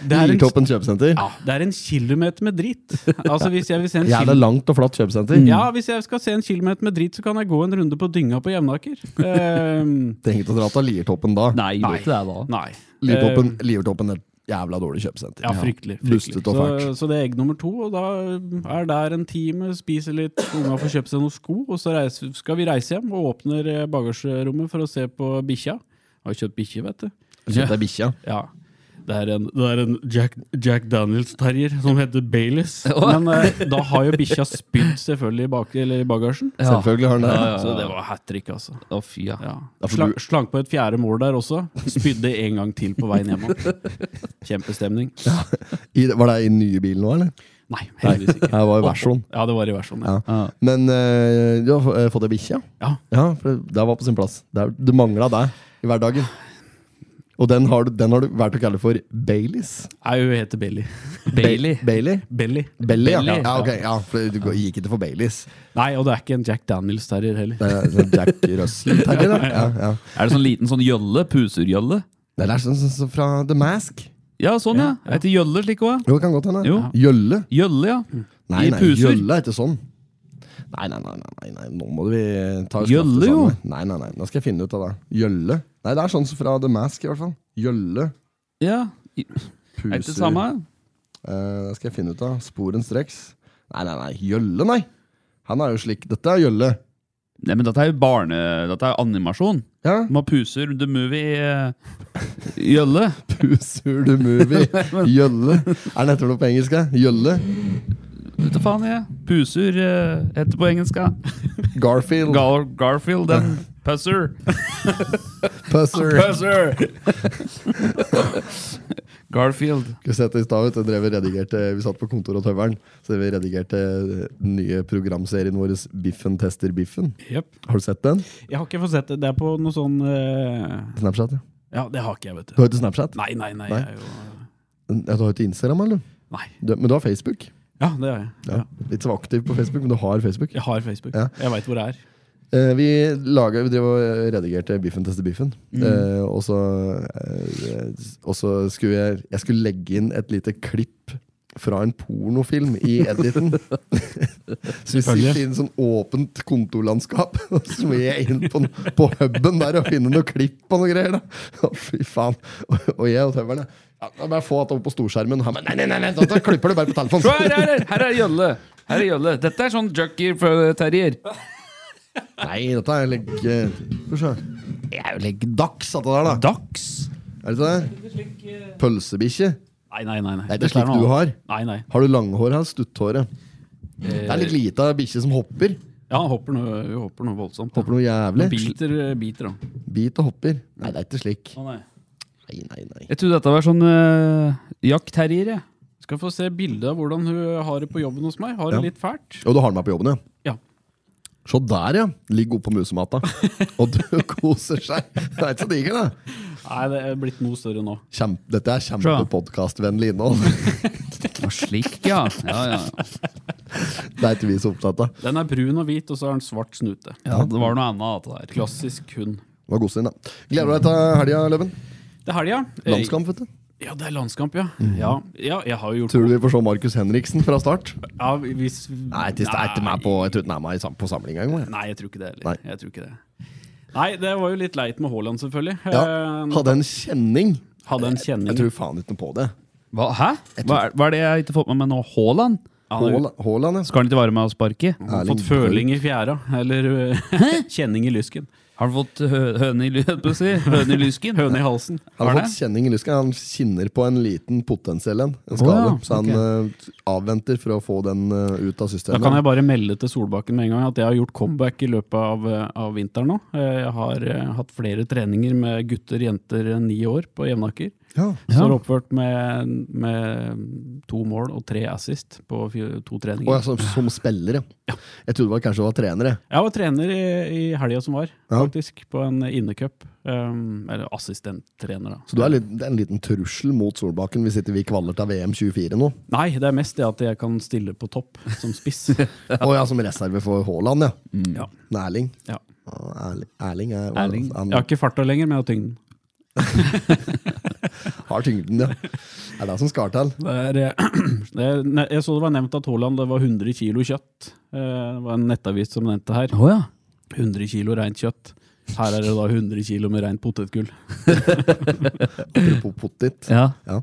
Speaker 3: Det er en
Speaker 1: Liertoppen kjøpesenter.
Speaker 3: ja, det er en kilometer med dritt. Altså, hvis jeg vil se en
Speaker 1: Jævla
Speaker 3: kilo-
Speaker 1: langt og flatt
Speaker 2: Mm.
Speaker 1: kjøpesenter.
Speaker 3: ja, hvis jeg skal se en kilometer med dritt, så kan jeg gå en runde på dynga på Jevnaker. Ehm,
Speaker 1: Trenger ikke å dra til Liertoppen da.
Speaker 2: Nei, gjorde ikke det da. Eh,
Speaker 3: nei.
Speaker 1: Liertoppen,
Speaker 3: Ehm,
Speaker 1: Liertoppen er et jævla dårlig kjøpesenter.
Speaker 3: ja, fryktelig. fryktelig.
Speaker 1: Bustet og
Speaker 3: Så,
Speaker 1: fælt.
Speaker 3: så det er egg nummer to, og da er der en time, spiser litt, unga får kjøpt seg noen sko, og så reiser, skal vi reise hjem og åpner eh, bagasjerommet for å se på bikkja. Har jo kjøpt bikkje, vet du.
Speaker 1: Kjøpt deg bikkja.
Speaker 3: Ja. Det er en, det er en Jack, Jack Daniels-terrier som heter Baileys. Men eh, da har jo bikkja spydd selvfølgelig i, bak, eller i bagasjen.
Speaker 1: Selvfølgelig har den det.
Speaker 3: Så det var hat trick, altså.
Speaker 2: Å, fy, ja.
Speaker 3: Ja.
Speaker 1: Ja, for
Speaker 3: Sla,
Speaker 1: du-
Speaker 3: slank på et fjerde mål der også. Spydde en gang til på veien hjemme. Kjempestemning.
Speaker 1: I, var det i den nye bilen nå, eller?
Speaker 3: Nei, heldigvis ikke.
Speaker 1: Det var i versjonen.
Speaker 3: Ja, det var i versjonen. Ja.
Speaker 1: Ja. Men eh, du har få- eh, fått deg bikkje?
Speaker 3: Ja.
Speaker 1: ja, for det var på sin plass. Det, er- det mangla deg i hverdagen. Og den har, du- den har du valgt å kalle for Baileys.
Speaker 3: Nei, hun heter Belly.
Speaker 2: Bailey.
Speaker 1: Bailey?
Speaker 3: Belly.
Speaker 1: Belly, ja.
Speaker 2: Belly,
Speaker 1: ja, ok, ja for du går- gikk ikke for Baileys.
Speaker 3: Nei, og det er ikke en Jack Daniels-terrier heller.
Speaker 1: Det er sånn Jack Russell-terrier. da. Ja, ja.
Speaker 2: Er det sånn liten sånn gjølle? Pusergjølle?
Speaker 1: Nei, Det er sånn som sånn, fra The Mask.
Speaker 2: Ja, sånn, ja. Heter gjølle slik òg?
Speaker 1: Jo, det kan godt hende.
Speaker 2: Jo.
Speaker 1: Gjølle.
Speaker 2: Gjølle, ja.
Speaker 1: Nei,
Speaker 2: I
Speaker 1: nei,
Speaker 2: puser.
Speaker 1: gjølle er ikke sånn. Nei, nei, nei, nei, nei, nei. nå må vi ta
Speaker 2: Gjølle, jo.
Speaker 1: sammen. Nei, nei, nei, nå skal jeg finne ut av det. Gjølle. Nei, det er sånn som fra The Mask, i hvert fall. Gjølle.
Speaker 2: ja. I-
Speaker 1: Puser.
Speaker 2: Er det det samme?
Speaker 1: Eh, det skal jeg finne ut av. Sporenstreks. Nei, nei, nei. Gjølle, nei. Han er jo slik. Dette er Gjølle.
Speaker 2: Nei, men dette er jo barne... Dette er jo animasjon.
Speaker 1: Ja.
Speaker 2: Man puser the movie eh, Gjølle.
Speaker 1: Pusur the movie. Gjølle. Er den heter noe på engelsk? ja? Gjølle?
Speaker 2: Vet du faen, jeg. Puser eh, heter på engelsk. ja.
Speaker 1: Garfield.
Speaker 2: Gar Garfield and Pusser.
Speaker 1: Pusser.
Speaker 2: Pusser! Garfield.
Speaker 1: Skulle sett det i stad, vet du, drev og redigerte, Vi satt på kontoret og tøveren, så vi redigerte den nye programserien vår Biffen tester biffen.
Speaker 3: Jep.
Speaker 1: Har du sett den?
Speaker 3: Jeg har ikke fått sett det. Det er på noe sånn eh,
Speaker 1: Snapchat, ja.
Speaker 3: Ja, det har ikke jeg, vet
Speaker 1: Du
Speaker 3: du.
Speaker 1: har ikke Snapchat?
Speaker 3: Nei, nei, nei.
Speaker 1: Nei.
Speaker 3: Jeg er jo,
Speaker 1: Ja, du har ikke Instagram, eller?
Speaker 3: nei.
Speaker 1: Du, men du har Facebook?
Speaker 3: Ja, det er jeg. Ja.
Speaker 1: Ja. Litt så aktiv på Facebook, men du har Facebook.
Speaker 3: Jeg har Facebook.
Speaker 1: Ja.
Speaker 3: Jeg veit hvor det er.
Speaker 1: Eh, vi, laget, vi drev og redigerte Biffen tester biffen. Eh, og, så, eh, og så skulle jeg, jeg skulle legge inn et lite klipp fra en pornofilm i editen. så vi sitter i en sånn åpent kontorlandskap, og så må jeg inn på, den- på huben der og finne noe klipp og noe greier. da. Å, Fy faen. Og, og jeg og tøverne ja, da må jeg få alt over på storskjermen. Han bare, nei, nei, nei, nei, da klipper du bare på
Speaker 2: Se Her,
Speaker 1: telefonen.
Speaker 2: her, her, her er Gjølle. Her er Gjølle. Dette er sånn jockey for terrier.
Speaker 1: nei, dette er legg... Få se. Det er jo leggdags, dette der, da.
Speaker 2: Dags.
Speaker 1: Er det ikke eh, det? Pølsebikkje?
Speaker 3: Nei, nei, nei. nei.
Speaker 1: Det er
Speaker 3: Dette
Speaker 1: ikke slik
Speaker 3: noe
Speaker 1: du
Speaker 3: annet.
Speaker 1: har.
Speaker 3: Nei, nei.
Speaker 1: Har du langhår her? Stutthåret. Det er litt lita bikkje som hopper.
Speaker 3: Ja, han hopper noe, hun hopper noe voldsomt.
Speaker 1: Hopper noe
Speaker 3: Hun
Speaker 1: jævlig.
Speaker 3: biter, biter, da.
Speaker 1: Bit og hopper. Nei, det er ikke slik.
Speaker 3: Å, nei.
Speaker 1: Nei, nei, nei.
Speaker 2: Jeg trodde dette var sånn uh, jaktterrier. jeg.
Speaker 3: eh, Skal få se bilde av hvordan hun har det på jobben hos meg. Har det
Speaker 1: Ja.
Speaker 3: litt fælt.
Speaker 1: Og du har den med på jobben, ja?
Speaker 3: Ja.
Speaker 1: Se der, ja. Ligger oppå musemata. Og du koser seg. Det er ikke så digg, da.
Speaker 3: Nei, det er blitt noe større nå.
Speaker 1: Kjempe, dette er kjempepodkastvennlig innhold.
Speaker 2: Det var slik, ja. ja, ja.
Speaker 1: Det er ikke vi så opptatt av.
Speaker 3: Den er brun og hvit, og så har den svart snute.
Speaker 2: Ja, det var noe annet. av Det der.
Speaker 3: Klassisk hund.
Speaker 1: Det var godsinn, da. Gleder du deg til helga, Løven?
Speaker 3: Det er helga. Eh,
Speaker 1: Landskamp, vet du.
Speaker 3: Ja, det er landskamp, ja. Ja, ja jeg har jo gjort
Speaker 1: Tror du vi får se Markus Henriksen fra start?
Speaker 3: ja, hvis,
Speaker 1: Nei, tis, det er ikke meg på, jeg tror ikke den er med i sam- på samling engang. jeg.
Speaker 3: Nei, jeg tror ikke det
Speaker 1: Nei.
Speaker 3: heller. Jeg tror ikke det. Nei, det var jo litt leit med Haaland, selvfølgelig.
Speaker 1: Ja.
Speaker 3: Eh,
Speaker 1: Hadde en kjenning.
Speaker 3: Hadde en
Speaker 1: Jeg
Speaker 3: kjenning.
Speaker 1: tror faen ikke noe på det.
Speaker 2: Hva, hæ? Hva er, hva er det jeg ikke har fått med meg nå? Haaland?
Speaker 1: Haala- Haaland, ja.
Speaker 2: Skal han ikke være med og sparke?
Speaker 3: Han har
Speaker 1: Erling
Speaker 3: fått føling i fjæra, eller eh, kjenning i lysken.
Speaker 2: Har han fått hø høne i ly- holdt på å si? Høne i lysken?
Speaker 3: Høne i halsen.
Speaker 1: Han har
Speaker 2: Har
Speaker 1: fått
Speaker 2: det?
Speaker 1: kjenning i lysken. Han kinner på en liten potensiell en. en skade.
Speaker 2: ja,
Speaker 1: Så han eh, avventer for å få den eh, ut av
Speaker 3: Da
Speaker 1: systemet.
Speaker 3: kan jeg bare melde til Solbakken med en gang at jeg har gjort comeback i løpet av, eh, av vinteren nå. Eh, Jeg har eh, hatt flere treninger med gutter, jenter, eh, ni år på Jevnaker.
Speaker 1: ja.
Speaker 3: Så har jeg oppført med, med to mål og tre assist på fire, to treninger.
Speaker 1: Og jeg, som, som spiller, ja. Jeg trodde det var kanskje det var trener. jeg.
Speaker 3: Jeg var trener i, i helga som var,
Speaker 1: Ja.
Speaker 3: faktisk, på en innecup. Um, eller assistenttrener, da.
Speaker 1: Så du er litt, det er en liten trussel mot Solbakken hvis ikke vi kvaler til VM 24 nå.
Speaker 3: Nei, det er mest det at jeg kan stille på topp som spiss.
Speaker 1: Og ja, som reserve for Haaland, ja.
Speaker 3: ja.
Speaker 1: Men Erling.
Speaker 3: Ja.
Speaker 1: Å, Erling, Erling, er,
Speaker 2: Erling.
Speaker 1: Han,
Speaker 3: Jeg har ikke farta lenger, men jeg har tyngden.
Speaker 1: har tyngden, ja. Det er det som skal til.
Speaker 3: Det er, eh, det er, ne- jeg så det var nevnt at Haaland det var 100 kilo kjøtt. Eh, Det var en nettavis som nevnte her.
Speaker 2: Å ja.
Speaker 3: 100 kilo rent kjøtt. Her er det da 100 kilo med rent potetgull.
Speaker 1: Apropos pottit.
Speaker 2: ja.
Speaker 1: Ja.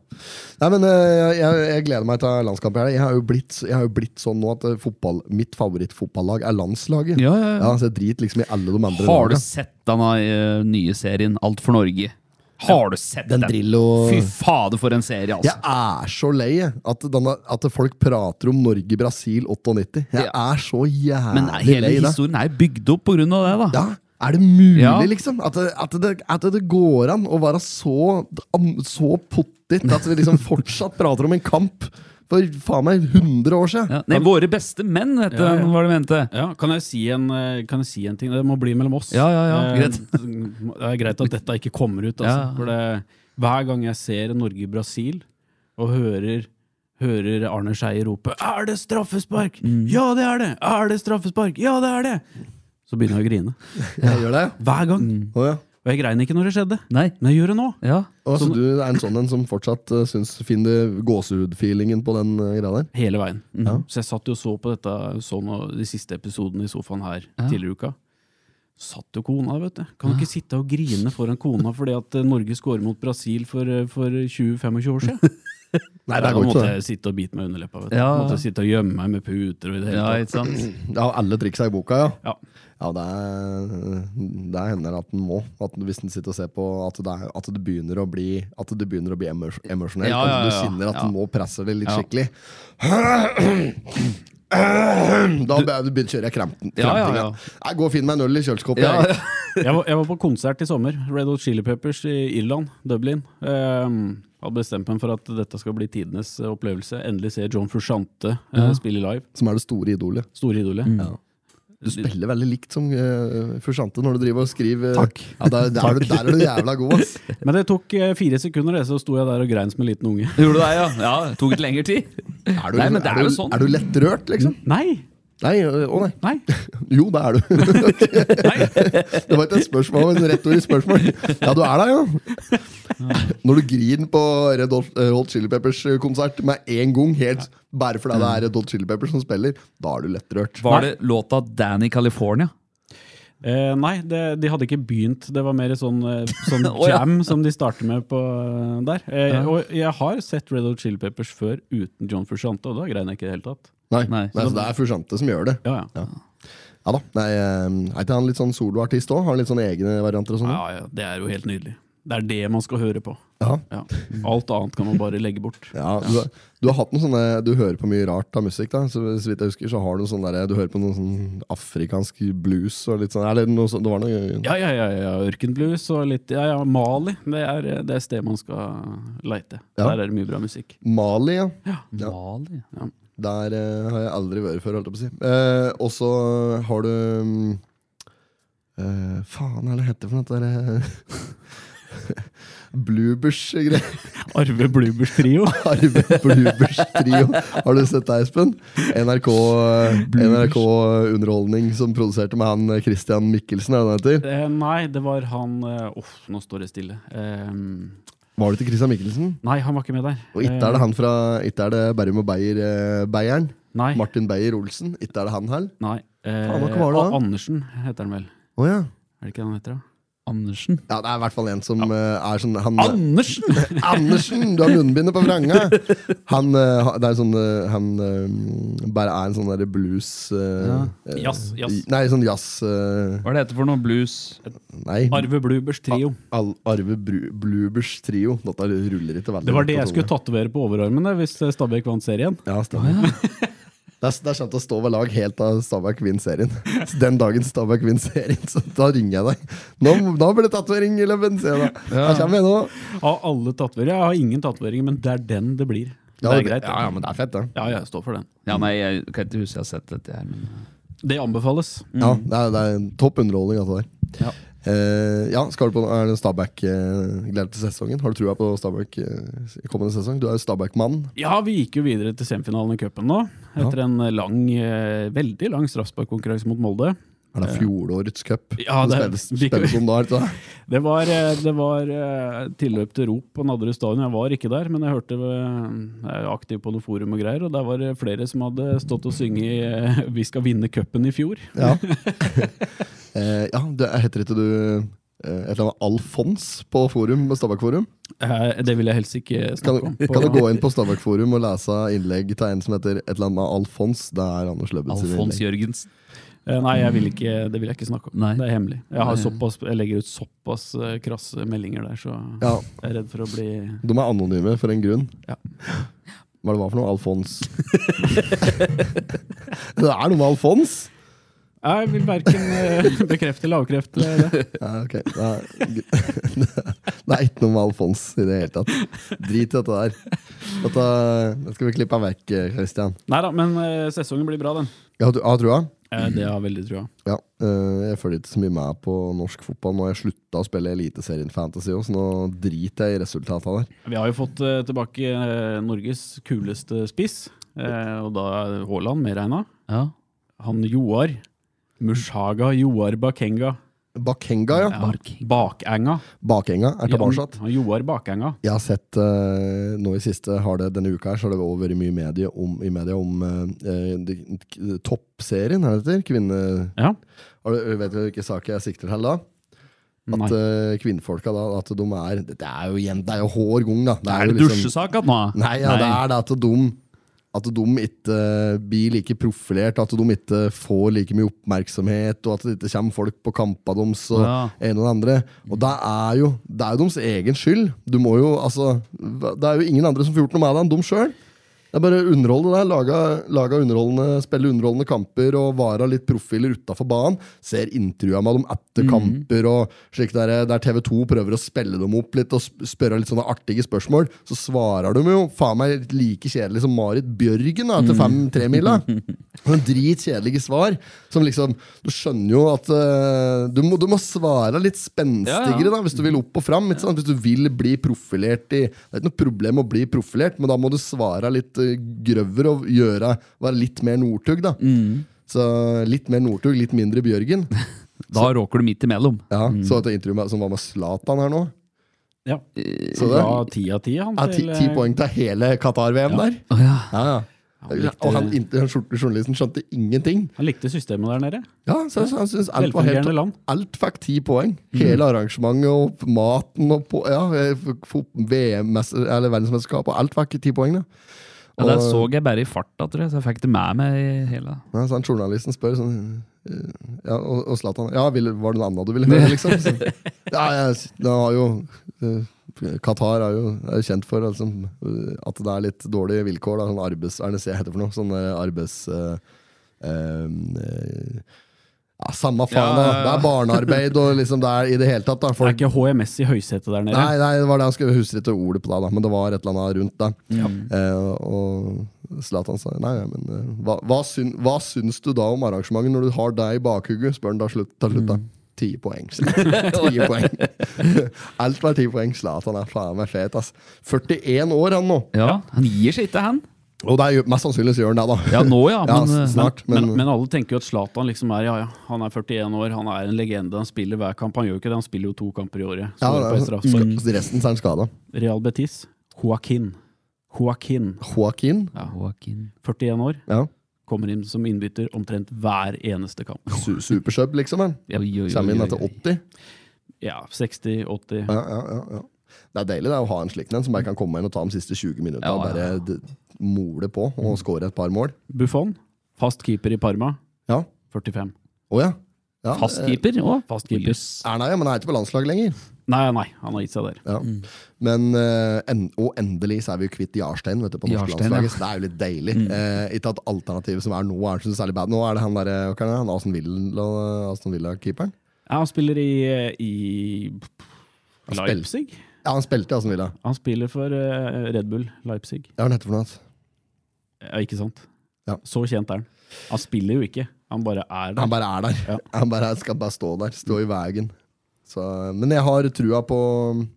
Speaker 1: Nei, men eh, jeg, jeg gleder meg til landskamp. i helga. Jeg har jo blitt, jeg har jo blitt sånn nå at eh, fotball, mitt favorittfotballag er landslaget.
Speaker 2: Ja, ja, ja.
Speaker 1: så jeg driter liksom i alle de andre.
Speaker 2: Har du
Speaker 1: lagene.
Speaker 2: sett denne eh, nye serien Alt for Norge? Har du sett
Speaker 1: Den
Speaker 2: den?
Speaker 1: Drillo-
Speaker 2: Fy fader, for en serie, altså.
Speaker 1: Jeg er så lei jeg, at, denne, at folk prater om Norge-Brasil 98. Jeg er så jævlig
Speaker 2: Men hele
Speaker 1: lei det.
Speaker 2: historien er bygd opp på grunn av det, da.
Speaker 1: Ja, er det mulig,
Speaker 2: Ja.
Speaker 1: liksom? At det, at, det, at det går an å være så, så pottit at vi liksom fortsatt prater om en kamp for faen meg 100 år siden?
Speaker 2: Ja, Nei, Våre beste menn, het
Speaker 3: Ja, ja.
Speaker 2: den, var det mente.
Speaker 3: Ja, kan jeg, si en, eh, kan jeg si en ting? Det må bli mellom oss.
Speaker 2: Ja, ja, ja,
Speaker 3: Eh,
Speaker 2: greit.
Speaker 3: Det er greit at dette ikke kommer ut. Altså,
Speaker 2: Ja.
Speaker 3: for det, hver gang jeg ser Norge-Brasil og hører, hører Arne Skeie rope 'Er det straffespark?'
Speaker 2: Mm.
Speaker 3: 'Ja, det er det!' 'Er det straffespark?' 'Ja, det er det!' Så begynner jeg å grine.
Speaker 1: Jeg gjør det, ja.
Speaker 3: Hver gang.
Speaker 1: Å, ja.
Speaker 3: Og jeg grein ikke når det skjedde,
Speaker 2: Mm. Nei.
Speaker 3: men jeg gjør det nå.
Speaker 2: Ja.
Speaker 1: Å, så du er en sånn en som fortsatt uh, syns finner gåsehud-feelingen på den uh, greia der?
Speaker 3: Hele veien. Så jeg satt jo og så på dette, så nå de siste episodene i sofaen her tidligere i uka. Satt jo kona, vet du. Kan ikke sitte og grine foran kona fordi at eh, Norge scorer mot Brasil for, eh, for 20-25 år siden.
Speaker 1: Nei,
Speaker 3: Da
Speaker 1: det går ikke
Speaker 3: måtte
Speaker 1: det.
Speaker 3: jeg sitte og bite meg under leppa. Vet du.
Speaker 2: Ja.
Speaker 3: Måtte jeg sitte og gjemme meg med puter og i det hele
Speaker 2: Ja,
Speaker 3: tatt.
Speaker 2: ikke sant?
Speaker 1: Det har alle triksa i boka, ja.
Speaker 3: Ja.
Speaker 1: Ja, det, er, det hender at den må. At den- hvis den sitter og ser på at det, er, at det begynner å bli At det begynner å bli emosj- emosjonelt.
Speaker 2: Ja, ja,
Speaker 1: At du
Speaker 2: ja, ja.
Speaker 1: kjenner at
Speaker 2: Ja.
Speaker 1: den må presse det litt
Speaker 2: Ja.
Speaker 1: skikkelig. Da be- du begynner kjører jeg kremten.
Speaker 2: Ja, ja, ja.
Speaker 1: kremtinga. Nei, Gå og finn meg en øl i kjøleskapet.
Speaker 2: Ja,
Speaker 1: jeg.
Speaker 3: Jeg var, jeg var på konsert i sommer. Red Hot Chili Peppers i Irland, Dublin. Um, hadde bestemt meg for at dette skal bli tidenes eh, opplevelse. Endelig se John Frusciante eh, spille live.
Speaker 1: Som er det store idolet.
Speaker 3: Store idolet.
Speaker 2: Mm.
Speaker 1: Du spiller veldig likt som uh, Fursante når du driver og skriver. Takk ja, der, der, er du, der er du jævla god, ass.
Speaker 3: Men det tok eh, fire sekunder, det, så sto jeg der og grein som en liten unge.
Speaker 2: Gjorde du det, ja? Ja, det tok litt lengre tid.
Speaker 1: Er du,
Speaker 2: Nei, men det er
Speaker 1: er
Speaker 2: jo
Speaker 1: du,
Speaker 2: sånn.
Speaker 1: er du lett rørt, liksom?
Speaker 3: Nei!
Speaker 1: Nei, øh, å nei.
Speaker 3: Nei!
Speaker 1: Jo, det er du. det var ikke et spørsmål, men et retorisk spørsmål. Ja, du er der, ja. Når du griner på Red Hot- eh, Hot Chili Peppers-konsert med en gang, helt, bare fordi det er Red Hot Chili Peppers som spiller, da er du lettrørt.
Speaker 2: Var det låta 'Danny California'?
Speaker 3: Eh, nei, det, de hadde ikke begynt. Det var mer sånn, eh, sånn
Speaker 2: Å, ja.
Speaker 3: jam som de starter med på eh, der. Eh, Og jeg har sett Red Hot Chili Peppers før uten John Frusciante, og da grein jeg ikke i det hele tatt.
Speaker 1: Nei,
Speaker 2: Nei.
Speaker 1: nei, så det er Fursante som gjør det.
Speaker 3: Ja, ja.
Speaker 1: Ja da. Nei, eh, er ikke han litt sånn soloartist òg? Har litt sånne egne varianter og sånn?
Speaker 3: Ja, ja, det er jo helt nydelig. Det er det man skal høre på.
Speaker 1: Ja.
Speaker 3: Ja. Alt annet kan man bare legge bort.
Speaker 1: Ja, du, du har hatt noen sånne Du hører på mye rart av musikk, da. Så, så vidt jeg husker, så har du sånn derre Du hører på noen sånn afrikansk blues og litt sånn Eller noe sånt. Det var noe
Speaker 3: Ja, ja, ja, ja. Ørkenblues og litt ja, ja, Mali. Det er eh, det er sted man skal leite.
Speaker 1: Ja.
Speaker 3: Der er det mye bra musikk.
Speaker 1: Mali, ja. Ja.
Speaker 2: Mali?
Speaker 1: Der eh, har jeg aldri vært før, holdt jeg på å si. Eh, og så har du mm, eh, Faen, hva er eh, det heter for noe? Det derre Bluebers-greier.
Speaker 3: Arve Blubers trio.
Speaker 1: Arve Bluebers-trio. Har du sett det, Espen? NRK, eh, NRK Underholdning som produserte med han eh, Christian Mikkelsen, er det han heter?
Speaker 3: Eh, nei, det var han eh, Uff, nå står det stille. Eh,
Speaker 1: Var det til Christian Mikkelsen?
Speaker 3: nei, han var ikke med der. Eh,
Speaker 1: Og ikke er det han fra Ikke er det Berrum og Beyer, eh, Beieren.
Speaker 3: Nei.
Speaker 1: Martin Beyer-Olsen. Ikke er det han heller.
Speaker 3: nei. Eh,
Speaker 1: Faen, hva var det da?
Speaker 3: A- Andersen heter han vel.
Speaker 1: Å ja.
Speaker 3: Er det ikke han heter, da?
Speaker 2: Andersen?
Speaker 1: ja. Det er i hvert fall en som eh, er sånn han,
Speaker 2: Andersen!
Speaker 1: Andersen, du har munnbindet på vranga! Han, eh, ha- det er sånn, eh, han eh, bare er en sånn derre blues uh,
Speaker 3: Jazz, jazz.
Speaker 1: Nei, sånn jazz eh,
Speaker 2: Hva er det heter for noe blues?
Speaker 1: Nei.
Speaker 3: Arve Blubers trio.
Speaker 1: Al Arve Bru Blubers trio. Dette ruller ikke veldig
Speaker 3: Det var det
Speaker 1: godt på
Speaker 3: jeg skulle
Speaker 1: tunga.
Speaker 3: tatovere på overarmen der, hvis eh, Stabæk vant serien.
Speaker 1: Ja, stemmer. Det er- det er kjent å stå ved lag helt av Stabæk vinner serien. Så Den dagen Stabæk vinner serien, så da ringer jeg deg. Nå, da blir det tatovering i løpet. sier jeg da. Her kommer jeg nå.
Speaker 3: Av alle tatoveringer. Jeg har ingen tatoveringer, men det er den det blir.
Speaker 1: Ja,
Speaker 3: det er
Speaker 1: det-
Speaker 3: greit.
Speaker 1: Ja, ja, men det er fett, det.
Speaker 3: Ja, jeg står for den.
Speaker 2: Ja, nei, jeg kan ikke huske jeg har sett dette her. Men...
Speaker 3: Det anbefales.
Speaker 1: Ja, det er, det er en topp underholdning. Altså, der.
Speaker 2: Ja.
Speaker 1: Eh, ja, skal du på er det Stabæk eh, gleder til sesongen? Har du trua på Stabæk eh, kommende sesong? Du er jo Stabæk-mann.
Speaker 3: Ja, vi gikk jo videre til semifinalen i cupen nå. Etter en lang, eh, veldig lang straffesparkkonkurranse mot Molde.
Speaker 1: Er det fjorårets cup?
Speaker 3: Ja, det er-
Speaker 1: spilles, spilles om da, er det ikke det?
Speaker 3: Det var, eh, det var eh, tilløp til rop på Nadderud stadion. Jeg var ikke der, men jeg hørte eh, Jeg er aktiv på noe forum og greier, og der var det flere som hadde stått og sunget eh, 'Vi skal vinne cupen' i fjor.
Speaker 1: Ja. eh, ja, det heter ikke du eh, et eller annet Alfons på forum, med Stabæk-forum?
Speaker 3: Eh, Det vil jeg helst ikke
Speaker 1: Kan,
Speaker 3: snakke om.
Speaker 1: du- kan du gå inn på Stabæk-forum og lese innlegg til en som heter et eller annet med Alfons? Det er Anders Løbbet sitt
Speaker 2: Alfons
Speaker 1: innlegg.
Speaker 2: Jørgensen.
Speaker 3: Eh, Nei, jeg vil ikke, det vil jeg ikke snakke om.
Speaker 2: Nei.
Speaker 3: Det er hemmelig. Jeg, har såpass, jeg legger ut såpass eh, krasse meldinger der, så
Speaker 1: Ja,
Speaker 3: jeg er redd for å bli
Speaker 1: de er anonyme for en grunn.
Speaker 3: Ja.
Speaker 1: Hva det var for noe? Alfons? det er noe med Alfons!
Speaker 3: Jeg vil verken bekrefte eller avkrefte det.
Speaker 1: Ja, ok. Det er, det er ikke noe med Alfons i det hele tatt. Drit i dette der. Dette, det skal vi klippe vekk, Christian.
Speaker 3: Nei da, men eh, sesongen blir bra, den.
Speaker 1: Ja, du- Har du trua?
Speaker 3: Eh, Det har jeg veldig trua.
Speaker 1: Ja, øh, jeg følger ikke så mye med på norsk fotball. Nå har jeg slutta å spille Eliteserien Fantasy òg, så nå driter jeg i resultatene der.
Speaker 3: Vi har jo fått eh, tilbake eh, Norges kuleste spiss, eh, og da er Haaland medregna.
Speaker 2: Ja.
Speaker 3: Han Joar. Mushaga Joar Bakenga.
Speaker 1: Bakenga, ja.
Speaker 3: Ja, Bakenga.
Speaker 1: Bakenga er tilbake.
Speaker 3: Han- han Joar Bakenga.
Speaker 1: Jeg har sett øh, nå i siste har det, Denne uka her, så har det også vært mye medie om, i media om øh, de- k- toppserien, er det det heter? Kvinne...
Speaker 3: Ja.
Speaker 1: Har du, vet du hvilke saker jeg sikter til da? At eh, kvinnfolka da, at de er Det er jo, igjen, det er jo hår gung, da.
Speaker 3: Det er
Speaker 1: jo liksom-
Speaker 3: det dusjesak at nå?
Speaker 1: Nei, ja, det er det at de at de ikke eh, blir like profilert, at de ikke får like mye oppmerksomhet, og at det ikke kommer folk på kampene deres og
Speaker 2: Ja.
Speaker 1: en og det andre. Og det er jo det er jo deres egen skyld. Du må jo, altså, det er jo ingen andre som får gjort noe med det enn dem sjøl. Det er bare å underholde det der. Laga, laga underholdende, spille underholdende kamper og vara litt profiler utafor banen. Ser intervjua med dem etter kamper og slik der, der TV2 prøver å spille dem opp litt og sp- spørre litt sånne artige spørsmål. Så svarer de jo faen meg like kjedelig som Marit Bjørgen da, etter fem-tremila. Sånne dritkjedelige svar. Som liksom, Du skjønner jo at eh, du, må, du må svare litt spenstigere da, hvis du vil opp og fram. Ikke sant? Hvis du vil bli profilert i Det er ikke noe problem å bli profilert, men da må du svare litt eh, grøvere og gjøre, være litt mer Northug. da. Så litt mer Northug, litt mindre Bjørgen.
Speaker 2: Da råker du midt imellom.
Speaker 1: Ja, Så et intervju med, som var med Zlatan her nå.
Speaker 3: Ja.
Speaker 1: Så
Speaker 3: Det
Speaker 1: det
Speaker 3: var ti av ti, han.
Speaker 1: er ti,
Speaker 3: til,
Speaker 1: ti
Speaker 3: eh,
Speaker 1: poeng til hele Qatar-VM der. Ja, ja. Og han, inter- han skjorte- journalisten skjønte ingenting.
Speaker 3: eh, Han likte systemet der nede.
Speaker 1: Ja, så jeg, jeg synes alt var helt
Speaker 3: Velfungerende land.
Speaker 1: Alt fikk ti poeng. Hele arrangementet og maten og på, ja, eh, f- fot- VM, eller verdensmesterskapet. Alt fikk ti poeng. da.
Speaker 2: Ja, det
Speaker 1: Og-
Speaker 2: så jeg bare i farta, tror jeg, så jeg fikk det med meg i hele
Speaker 1: Ja, så han Journalisten spør sånn eh, ja, Og og Zlatan Ja, vil, var det noe annet du ville høre, liksom? Så, ja, jeg, s- det har jo eh, Qatar er jo, er jo kjent for altså, eh, at det er litt dårlige vilkår. Da, sånn arbeids... Hva er det jeg heter for noe? Sånn eh, arbeids... Eh, eh, ja, samme faen, da. Det er barnearbeid og liksom det er i det hele tatt. da
Speaker 3: Det er
Speaker 1: Folk
Speaker 3: ikke HMS i høysetet der nede.
Speaker 1: Nei, nei, det var det han skulle huske ikke ordet på det, da, men det var et eller annet rundt det. Eh, og Zlatan sa nei, ja, men eh, hva, hva, syn, hva syns du da om arrangementet når du har deg i bakhugget? Spør han da slutt, til slutt,
Speaker 2: Mm.
Speaker 1: da. Ti poeng. ti poeng. Alt var ti poeng. Zlatan er faen meg fet, ass. 41 år han nå.
Speaker 2: Ja, han gir seg ikke, han.
Speaker 1: Og det er jo, mest sannsynlig så gjør han det, da.
Speaker 2: Ja, nå ja,
Speaker 1: Ja,
Speaker 2: men eh,
Speaker 1: snart, men,
Speaker 3: Men, men, alle tenker jo at Zlatan liksom er ja, ja, han er 41 år, han er en legende. Han spiller hver kamp. Han gjør jo ikke det, han spiller jo to kamper i året. Så
Speaker 1: ja,
Speaker 3: går det på et
Speaker 1: skal,
Speaker 3: straffespark.
Speaker 1: resten så er han skada.
Speaker 3: Real Betis, Joaquin. Joaquin,
Speaker 1: Joaquin.
Speaker 2: Joaquin.
Speaker 3: 41 år,
Speaker 1: Ja.
Speaker 3: kommer inn som innbytter omtrent hver eneste kamp.
Speaker 1: Su Supersub, liksom. han.
Speaker 2: Oi, oi, oi,
Speaker 1: Kommer inn
Speaker 2: oi,
Speaker 1: etter
Speaker 2: oi.
Speaker 1: 80.
Speaker 3: Ja, 60, 80
Speaker 1: Ja, ja, ja, ja. Det er deilig det, å ha en slik en som bare kan komme inn og ta de siste 20 minuttene
Speaker 2: Ja,
Speaker 1: og bare
Speaker 2: ja, ja.
Speaker 1: d- mole på og score et par mål.
Speaker 3: Buffon, fast keeper i Parma,
Speaker 1: Ja.
Speaker 3: 45.
Speaker 1: Å ja. ja.
Speaker 2: Fast
Speaker 1: eh,
Speaker 2: keeper òg.
Speaker 3: Fast keeper.
Speaker 1: Er nei, men han er ikke på landslaget lenger.
Speaker 3: Nei, nei, han har gitt seg der.
Speaker 1: Ja.
Speaker 2: Mm.
Speaker 1: Men, eh, en, og endelig så er vi jo kvitt Jarstein vet du, på norsk
Speaker 2: Jarstein, ja. Mm.
Speaker 1: landslaget, så det er jo litt deilig. Eh, ikke at alternativet som er nå, er så særlig bad. Nå er det han der, hva er det, han Aston Villa- Aston Villa-keeperen.
Speaker 3: Ja, han spiller i, i
Speaker 1: Han spiller-
Speaker 3: Leipzig.
Speaker 1: ja, han spilte i Aston Villa.
Speaker 3: Han spiller for eh, Red Bull Leipzig.
Speaker 1: Ja, hva er det for noe? ass?
Speaker 3: Ja, ikke sant?
Speaker 1: Ja.
Speaker 3: Så kjent er han. Han spiller jo ikke, han bare er der.
Speaker 1: Han bare er der.
Speaker 3: Ja.
Speaker 1: Han bare skal bare stå der. Stå i veien. Så, men jeg har trua på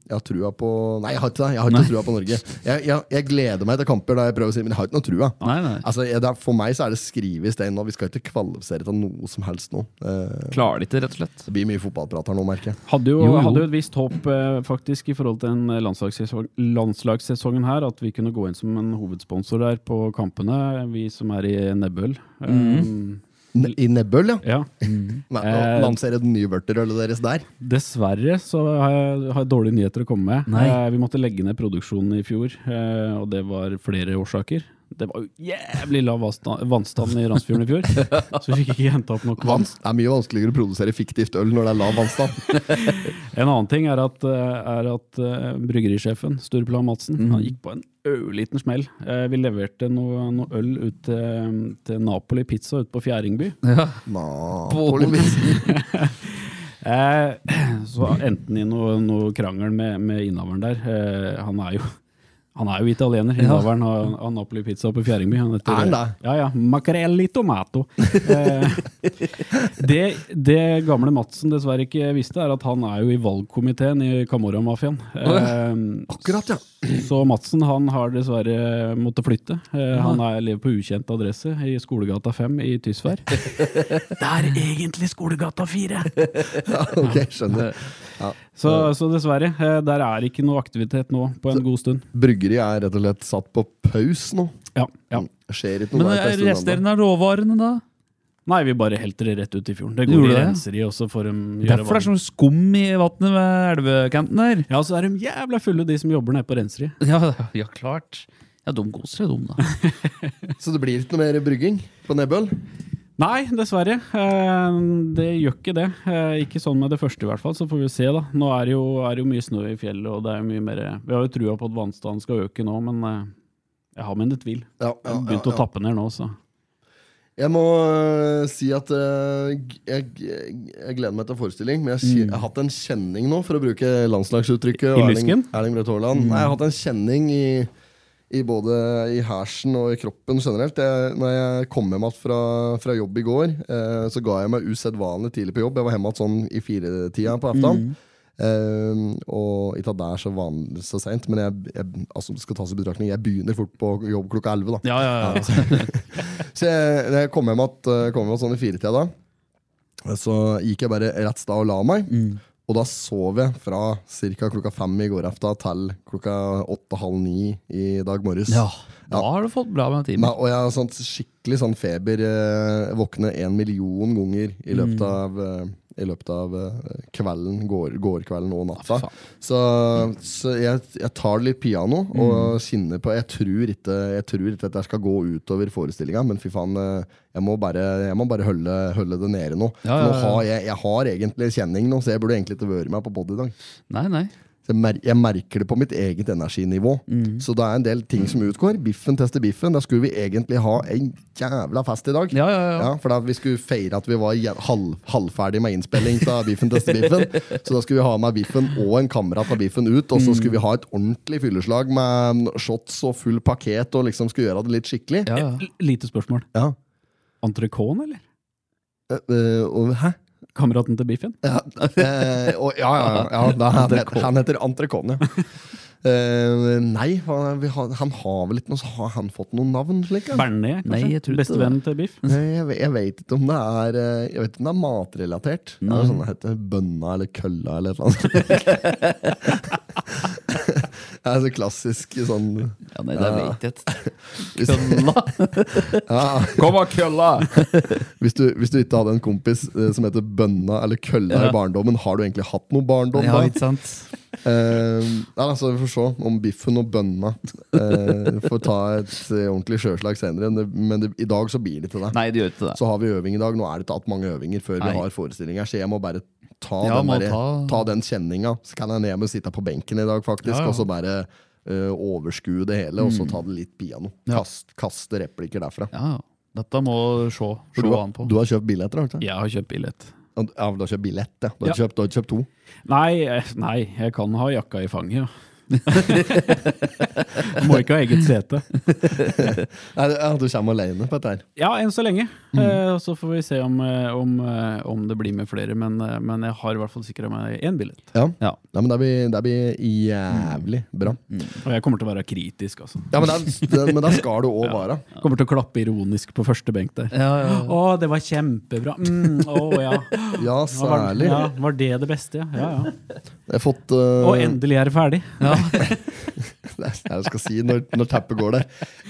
Speaker 1: Jeg har trua på Nei, jeg har ikke det. Jeg har ikke trua på Norge. Jeg, jeg, jeg gleder meg til kamper, da jeg prøver å si men jeg har ikke noe trua.
Speaker 2: Nei, nei.
Speaker 1: Altså, jeg, det er, for meg så er det skrevet i stein nå. Vi skal ikke kvalifisere til noe som helst nå. Eh,
Speaker 2: Klarer det ikke, rett og slett.
Speaker 1: det blir mye fotballprat her nå, merker jeg.
Speaker 3: Hadde jo,
Speaker 2: Jo, jo.
Speaker 3: hadde jo et visst håp eh, faktisk i forhold til den eh, landslagssesong, landslagssesongen her, at vi kunne gå inn som en hovedsponsor der på kampene, vi som er i Nebbøl.
Speaker 2: Mhm.
Speaker 1: N I Nebbøl, ja.
Speaker 3: Eh, ja.
Speaker 1: Nei,
Speaker 3: Eh.
Speaker 1: Nå lanserer det nye vørterølet deres der.
Speaker 3: Dessverre så har jeg, har jeg dårlige nyheter å komme med.
Speaker 2: Nei.
Speaker 3: Eh, vi måtte legge ned produksjonen i fjor, eh, og det var flere årsaker. Det var jo jævlig lav vannsta- vannstand i Randsfjorden i fjor, så vi fikk ikke henta opp nok vann.
Speaker 1: Vann. Det er mye vanskeligere å produsere fiktivt øl når det er lav vannstand.
Speaker 3: En annen ting er at, eh, er at eh, bryggerisjefen, Stureplan Madsen,
Speaker 1: Mhm.
Speaker 3: han gikk på en ørliten smell. Eh, Vi leverte noe, noe øl ut til, til Napoli Pizza ute på Fjæringby.
Speaker 1: Napoleon.
Speaker 3: Eh, Så endte han i noe, noe krangel med, med innehaveren der. Eh, Han er jo han er jo italiener. Innehaveren av av Napoli Pizza oppe i Fjæringby. Han heter,
Speaker 1: Er han det?
Speaker 3: Ja, ja. Macarelli tomato. Eh, det, det gamle Madsen dessverre ikke visste, er at han er jo i valgkomiteen i Camorra-mafiaen. Eh,
Speaker 1: Akkurat, ja.
Speaker 3: Så Madsen han har dessverre måttet flytte. Eh, Han er, lever på ukjent adresse i Skolegata 5 i Tysvær. det er egentlig Skolegata 4!
Speaker 1: Ok, skjønner.
Speaker 3: Så, så dessverre, eh, der er ikke noe aktivitet nå på en god stund.
Speaker 1: Bryggeriet er rett og slett satt på pause nå.
Speaker 3: Ja, eh, ja.
Speaker 1: Skjer ikke noe
Speaker 2: Men
Speaker 1: der på en stund ennå.
Speaker 2: resterende av råvarene, da?
Speaker 3: Nei, vi bare helter det rett ut i fjorden. Det
Speaker 2: Gjorde
Speaker 3: går de
Speaker 2: det?
Speaker 3: renser i, og så får de gjøre
Speaker 2: Derfor
Speaker 3: hva
Speaker 2: det er sånn skum i vannet ved elvekanten her.
Speaker 3: Ja, så er de jævla fulle, de som jobber nede på renseriet.
Speaker 2: Ja, ja klart. Ja, de koser seg, de, da.
Speaker 1: Så det blir ikke noe mer brygging på Nebøl?
Speaker 3: Nei, dessverre. Eh, Det gjør ikke det. Eh, Ikke sånn med det første, i hvert fall. Så får vi se, da. Nå er det jo, er det jo mye snø i fjellet, og det er jo mye mer Vi har jo trua på at vannstanden skal øke nå, men eh, jeg har mine tvil.
Speaker 1: Ja, ja,
Speaker 3: Jeg har
Speaker 1: ja,
Speaker 3: begynt å
Speaker 1: ja.
Speaker 3: tappe ned nå, så.
Speaker 1: Jeg må øh, si at øh, g- jeg, jeg, jeg gleder meg til forestilling, men jeg, kje- jeg har hatt en kjenning nå, for å bruke landslagsuttrykket.
Speaker 3: Mm. I
Speaker 1: og
Speaker 3: Mm.
Speaker 1: Erling,
Speaker 3: lysken?
Speaker 1: Erling Braut Haaland. Nei, Jeg har hatt en kjenning i, i både i hersen og i kroppen generelt. Jeg, når jeg kom hjem igjen fra, fra jobb i går, eh, så ga jeg meg usedvanlig tidlig på jobb. Jeg var hjemme igjen sånn i firetida på aftan.
Speaker 3: Mm.
Speaker 1: Eh, og ikke at det er så vanlig så seint, men jeg, jeg, altså, det skal tas i betraktning jeg begynner fort på jobb klokka elleve. da
Speaker 3: Ja, ja, ja.
Speaker 1: så jeg, da jeg kom hjem at, kom hjem at sånn i firetida da, så gikk jeg bare rett sted og la meg. Og da sov jeg fra ca. klokka fem i går aften til klokka åtte-halv ni i dag morges.
Speaker 2: Da har du fått bra med
Speaker 1: Nei,
Speaker 2: timer.
Speaker 1: og jeg har sånn skikkelig sånn feber. Eh, våkne en million ganger i
Speaker 2: Mm.
Speaker 1: løpet av, eh, i løpet av eh, kvelden, går, gårdkvelden og natta.
Speaker 2: faen.
Speaker 1: Så, så jeg, jeg tar det litt piano
Speaker 2: Mm.
Speaker 1: og kjenner på Jeg tror ikke, jeg tror ikke at jeg skal gå utover forestillinga, men fy faen, eh, jeg må bare, jeg må bare holde, holde det nede nå. For
Speaker 2: Ja, ja,
Speaker 1: Nå
Speaker 2: ja.
Speaker 1: har jeg, jeg har egentlig kjenning nå, så jeg burde egentlig ikke vært med på pod i dag.
Speaker 2: Nei, nei.
Speaker 1: Så Jeg, mer jeg merker det på mitt eget energinivå.
Speaker 2: Mm.
Speaker 1: Så det er en del ting som utgår. Biffen tester biffen. Da skulle vi egentlig ha en jævla fest i dag.
Speaker 2: Ja, ja, ja.
Speaker 1: Ja, for da vi skulle feire at vi var je- halv, halvferdig med innspilling av Biffen tester biffen. Så da skulle vi ha med biffen og en kamerat av biffen ut, og
Speaker 2: Mm.
Speaker 1: så skulle vi ha et ordentlig fylleslag med shots og full pakket og liksom skulle gjøre det litt skikkelig.
Speaker 2: ja, ja.
Speaker 3: L- Lite spørsmål.
Speaker 1: Ja.
Speaker 3: Entrecôte, eller?
Speaker 1: Eh, eh, og, hæ?
Speaker 3: Kameraten til Biffen?
Speaker 1: Ja, eh, og, ja, ja, ja, ja da, han, heter, han heter Entrecôte, ja. Eh, nei, han, vi har, han har vel ikke noe så Har han fått noe navn? Slik, ja?
Speaker 3: Bernet,
Speaker 2: Nei, jeg
Speaker 3: kanskje?
Speaker 2: tror ikke
Speaker 3: Bestevennen til
Speaker 2: Mm.
Speaker 3: Biff?
Speaker 1: Nei, jeg, ve- jeg vet ikke om det er eh, Jeg vet ikke om det er matrelatert. Er det sånn det heter Bønna eller kølla eller et eller annet. det er så klassisk sånn
Speaker 2: ja nei, det vet jeg ikke.
Speaker 1: hvis,
Speaker 2: Kom og kølla!
Speaker 1: hvis, du, hvis du ikke hadde en kompis eh, som heter Bønna eller kølla
Speaker 2: Ja.
Speaker 1: i barndommen, har du egentlig hatt noe barndom
Speaker 2: Ja,
Speaker 1: da?
Speaker 2: ikke sant?
Speaker 1: Eh, ja, altså, vi får se om biffen og bønna eh, får ta et eh, ordentlig sjøslag senere. Men, det, men det, i dag så blir det til det.
Speaker 2: Nei, det gjør ikke det.
Speaker 1: Så har vi øving i dag. Nå er det ikke hatt mange øvinger før
Speaker 2: Nei.
Speaker 1: vi har forestillinger, så jeg må bare ta
Speaker 2: Ja,
Speaker 1: den,
Speaker 2: må
Speaker 1: derre-
Speaker 2: ta-
Speaker 1: ta den kjenninga. Så kan jeg ned med å sitte på benken i dag, faktisk,
Speaker 2: Ja, ja. Mm.
Speaker 1: og så bare eh, overskue det hele, og så ta det litt piano.
Speaker 2: Ja.
Speaker 1: Kast, kaste replikker derfra.
Speaker 2: Ja, ja. dette må se,
Speaker 1: For du,
Speaker 2: se
Speaker 1: har,
Speaker 2: an på.
Speaker 1: du har kjøpt billetter, har du ikke?
Speaker 3: Jeg har kjøpt billett.
Speaker 1: Ja, du har kjøpt billett, ja. Du har,
Speaker 3: Ja.
Speaker 1: kjøpt, du har kjøpt to.
Speaker 3: Nei, eh, nei, jeg kan ha jakka i fanget, ja. Må ikke ha eget sete.
Speaker 1: Nei, ja, du kommer alene på dette her.
Speaker 3: Ja, enn så lenge. Eh, så får vi se om, eh, om, eh, om det blir med flere. Men, eh, men jeg har i hvert fall sikra meg én billett.
Speaker 1: Ja.
Speaker 2: Ja.
Speaker 1: Nei, men det blir, det blir jævlig bra.
Speaker 3: Og jeg kommer til å være kritisk, altså.
Speaker 1: Ja, men det, det, men det skal du òg være.
Speaker 3: Kommer til å klappe ironisk på første benk der.
Speaker 2: Ja, ja, ja.
Speaker 3: Å, det var kjempebra! Mm, å ja.
Speaker 1: Ja,
Speaker 3: Ja, var,
Speaker 1: særlig.
Speaker 3: ja. Var det det beste? Ja, ja. ja.
Speaker 1: Jeg har fått eh,
Speaker 3: Og endelig er det ferdig.
Speaker 1: Det er det jeg skal si når, når teppet går der.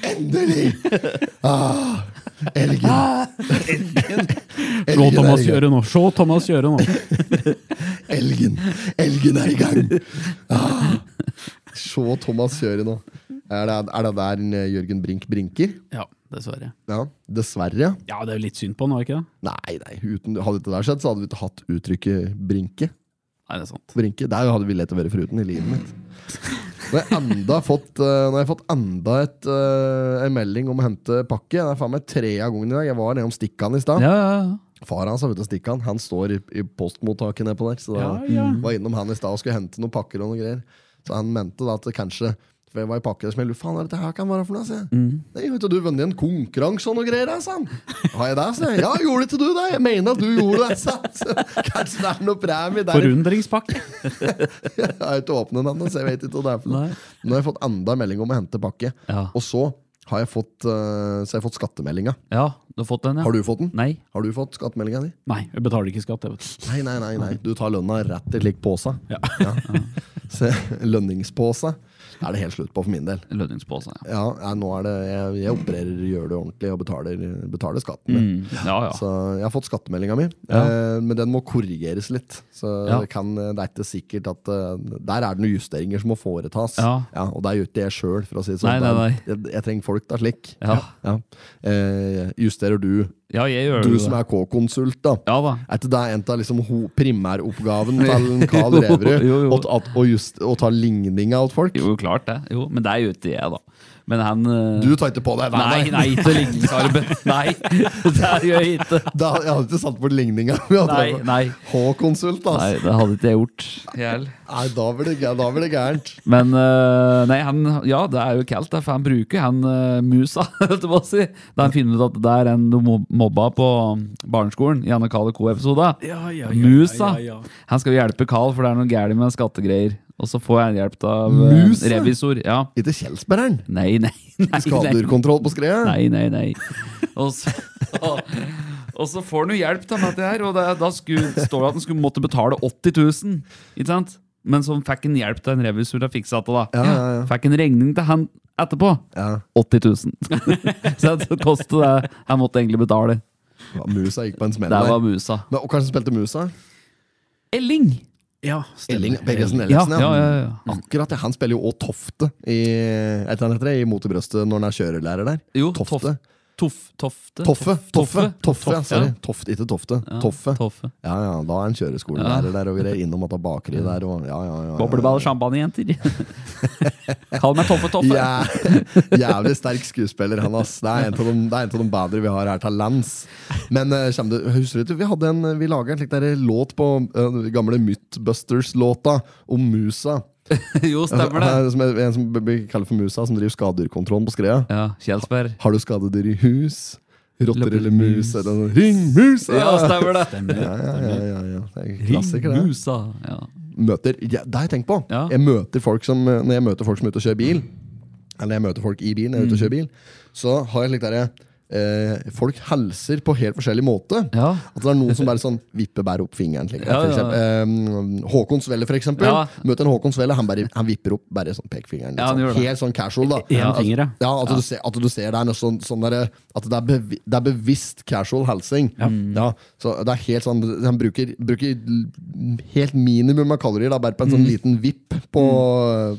Speaker 1: Endelig! Ah, elgen.
Speaker 3: Se
Speaker 1: elgen, er
Speaker 3: Thomas
Speaker 1: i gang.
Speaker 3: gjøre nå! Se Thomas gjøre nå!
Speaker 1: elgen! Elgen er i gang! Ah. Se Thomas kjøre nå. Er det, er det der en, eh, Jørgen Brink brinker?
Speaker 3: Ja, dessverre.
Speaker 1: Ja, Dessverre.
Speaker 3: Ja, det er jo litt synd på han, var det ikke det?
Speaker 1: Nei, nei. Uten, hadde ikke det der skjedd, så hadde vi ikke hatt uttrykket 'brinke'.
Speaker 3: Nei, det er sant.
Speaker 1: Brinke, der hadde vi lett å være foruten i livet mitt. Nå har jeg enda fått, eh, nå har jeg fått enda et, eh, en melding om å hente pakke. Det er faen meg tre av gangen i dag. Jeg var nede om Stikkan i stad.
Speaker 2: Ja, ja, ja.
Speaker 1: Far hans har vært og Stikkan. Han står i, i postmottaket nedpå der. Så da
Speaker 3: Ja, ja.
Speaker 1: var jeg innom han i stad og skulle hente noen pakker og noen greier. Så han mente da at det kanskje for jeg var i pakke der som jeg lurte faen hva dette her kan være for noe. sa jeg. Nei, vet du, du vunnet en konkurranse og noe greier, da, sa han. Har jeg det? sa jeg. Ja, gjorde ikke du det? Jeg mener at du gjorde det, sa han. Så Kanskje det er noe premie der.
Speaker 3: Forundringspakke!
Speaker 1: Jeg har ikke åpnet den, så jeg vet ikke hva det er for
Speaker 2: Nei.
Speaker 1: noe. Nå har jeg fått enda en melding om å hente pakke.
Speaker 2: Ja.
Speaker 1: Og så har jeg fått, eh, så har jeg fått skattemeldinga.
Speaker 2: ja, du har fått den, ja.
Speaker 1: Har du fått den?
Speaker 2: Nei.
Speaker 1: Har du fått skattemeldinga di?
Speaker 3: Nei, jeg betaler ikke skatt, jeg, vet du.
Speaker 1: Nei, nei, nei. nei. Du tar lønna rett i lik pose.
Speaker 3: Ja.
Speaker 1: Ja. Så- Lønningspose. er det helt slutt på for min del.
Speaker 2: Lønningspose. Ja.
Speaker 1: Ja, ja, nå er det, jeg, jeg opererer, gjør det ordentlig og betaler, betaler skatten min.
Speaker 2: Mm. ja, ja.
Speaker 1: Så jeg har fått skattemeldinga mi,
Speaker 2: Ja.
Speaker 1: eh, men den må korrigeres litt. Så
Speaker 2: Ja.
Speaker 1: det, kan, det er ikke sikkert at eh, Der er det noen justeringer som må foretas.
Speaker 2: Ja.
Speaker 1: og det er jo ikke jeg sjøl, for å si det
Speaker 2: Nei,
Speaker 1: sånn.
Speaker 2: nei, nei.
Speaker 1: Jeg, jeg trenger folk der slik.
Speaker 2: Ja.
Speaker 1: Eh, justerer du,
Speaker 2: ja, jeg gjør
Speaker 1: du
Speaker 2: det.
Speaker 1: som er K-konsult, da.
Speaker 2: Ja da.
Speaker 1: Er ikke det en av liksom, ho- primæroppgaven til Carl Reverud?
Speaker 2: Jo, jo.
Speaker 1: Å at- å just- å ta ligninga til folk?
Speaker 2: Jo, klart det. Jo, men det er jo ikke jeg, da. Men han eh,
Speaker 1: Du tar ikke på deg?
Speaker 2: Nei, nei, ikke ligningsarbeid. Nei, det gjør jeg ikke.
Speaker 1: Da, jeg hadde ikke satt bort ligninga. vi hadde
Speaker 2: Nei,
Speaker 1: prøvd.
Speaker 2: nei.
Speaker 1: H-konsult, altså.
Speaker 2: Nei, det hadde ikke jeg gjort. Hjell.
Speaker 1: Nei, da blir det, gæ- da blir det gærent.
Speaker 2: Men eh, nei, han, ja, det er jo kaldt, det, for han bruker han eh, musa. holdt jeg på å si. Da han finner ut at det er en du mob- mobba på barneskolen i Anne Kale Co-episoda.
Speaker 3: Ja, ja, ja,
Speaker 2: Musa.
Speaker 3: ja, ja, ja.
Speaker 2: Han skal jo hjelpe Carl, for det er noe gærent med skattegreier. Og så får han hjelp av eh,
Speaker 1: Musa?
Speaker 2: revisor. Ja.
Speaker 1: Ikke Kjelsbergeren.
Speaker 2: Nei, nei, nei. nei.
Speaker 1: Skadedyrkontroll på skredet.
Speaker 2: Nei, nei, nei. Og så, og så får han jo hjelp da, med dette her, og det, da skulle, står det at han skulle måtte betale 80 000. Ikke sant? Men så fikk han hjelp til en revisor til å fikse det. da.
Speaker 1: Ja, ja, ja.
Speaker 2: Fikk en regning til han etterpå.
Speaker 1: Ja.
Speaker 2: 80 000. så det kostet det han måtte egentlig betale.
Speaker 1: Ja, Musa gikk på en smell
Speaker 2: Der var
Speaker 1: der.
Speaker 2: musa.
Speaker 1: Men, og kanskje spilte Musa?
Speaker 2: Elling!
Speaker 3: Ja,
Speaker 1: Elling
Speaker 3: stemmer.
Speaker 1: Peggersen
Speaker 2: Ja,
Speaker 1: Ellefsen,
Speaker 2: ja, ja. ja.
Speaker 1: Akkurat, ja. Han spiller jo òg Tofte i, et eller annet heter det, i Mot i brøstet når han er kjørelærer der.
Speaker 2: Jo,
Speaker 1: Tofte.
Speaker 2: Toff, tofte.
Speaker 1: Toffe, Toffe, Toffe, ja,
Speaker 2: Toffe,
Speaker 1: sorry.
Speaker 2: ja.
Speaker 1: Tofte, ikke Tofte.
Speaker 2: Ja,
Speaker 1: Toffe.
Speaker 2: Toffe.
Speaker 1: Ja, ja, da er han kjøreskolelærer der og greier. Innom at det er bakeri der og ja, ja, ja. ja,
Speaker 2: Bobleball champagnejenter. Kall meg Toffe Toffe.
Speaker 1: Ja, jævlig sterk skuespiller, han ass. Det er en av de, det er en av de bedre vi har her til lands. Men eh, kjem du, husker du ikke, vi, hadde en, vi laget en slik der låt på eh, gamle Mythbusters-låta om musa.
Speaker 2: jo, stemmer det.
Speaker 1: Eh, Som er, en som blir kalt for musa, som driver skadedyrkontrollen på skreia.
Speaker 2: Ja, Kjelsberg.
Speaker 1: Har du skadedyr i hus? Rotter
Speaker 2: Løper
Speaker 1: eller mus?
Speaker 2: mus.
Speaker 1: Eller noe, Ring musa!
Speaker 2: Ja, stemmer det.
Speaker 1: Ja, ja, ja, ja, ja. Det er klassiker, det.
Speaker 2: Musa. Ja.
Speaker 1: møter ja, Det har jeg tenkt på.
Speaker 2: Ja.
Speaker 1: Jeg møter folk som, eh, når jeg møter folk som er ute og kjører bil, eller jeg møter folk i bilen, jeg er ute
Speaker 2: Mm.
Speaker 1: og kjører bil, så har jeg slik derre eh, Folk hilser på helt forskjellig måte.
Speaker 2: Ja.
Speaker 1: At det er noen som bare sånn vipper bare opp fingeren. Slik,
Speaker 2: Ja,
Speaker 1: for
Speaker 2: ja.
Speaker 1: eksempel. Eh, Håkon Svelle, for eksempel.
Speaker 2: Ja.
Speaker 1: Møter en Håkon Svelle, han, bare, han vipper opp bare sånn pekefingeren.
Speaker 2: Ja, han
Speaker 1: Liksom.
Speaker 2: gjør det.
Speaker 1: helt sånn casual, da.
Speaker 3: En finger, ja.
Speaker 1: Ja, at, Du ser, at du ser det er noe sånn, sånn der, At det er, bevi, det er bevisst casual helsing. Ja. så det er helt sånn Han bruker, bruker l- helt minimum av kalorier da, bare på en sånn liten vipp på,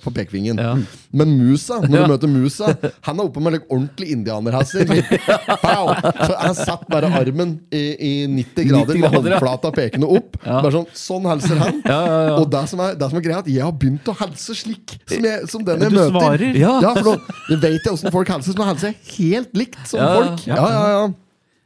Speaker 1: på pekefingeren.
Speaker 2: Mm. Ja.
Speaker 1: Men musa, når
Speaker 2: Ja.
Speaker 1: du møter musa Han er oppe med like, ordentlig indianerhester. Pow! så han satt bare armen i, i 90 grader, med
Speaker 2: 90 grader, ja.
Speaker 1: håndflata pekende opp. Bare sånn, sånn helser han.
Speaker 2: ja, ja.
Speaker 1: Og det som, er, det som er greia, er at jeg har begynt å helse slik som, jeg, som den jeg
Speaker 3: Du
Speaker 1: møter.
Speaker 3: svarer.
Speaker 2: Ja.
Speaker 1: Ja, for nå, det vet jeg åssen folk hilser, men hilser helt likt som
Speaker 2: Ja, ja,
Speaker 1: folk. Ja, ja, ja.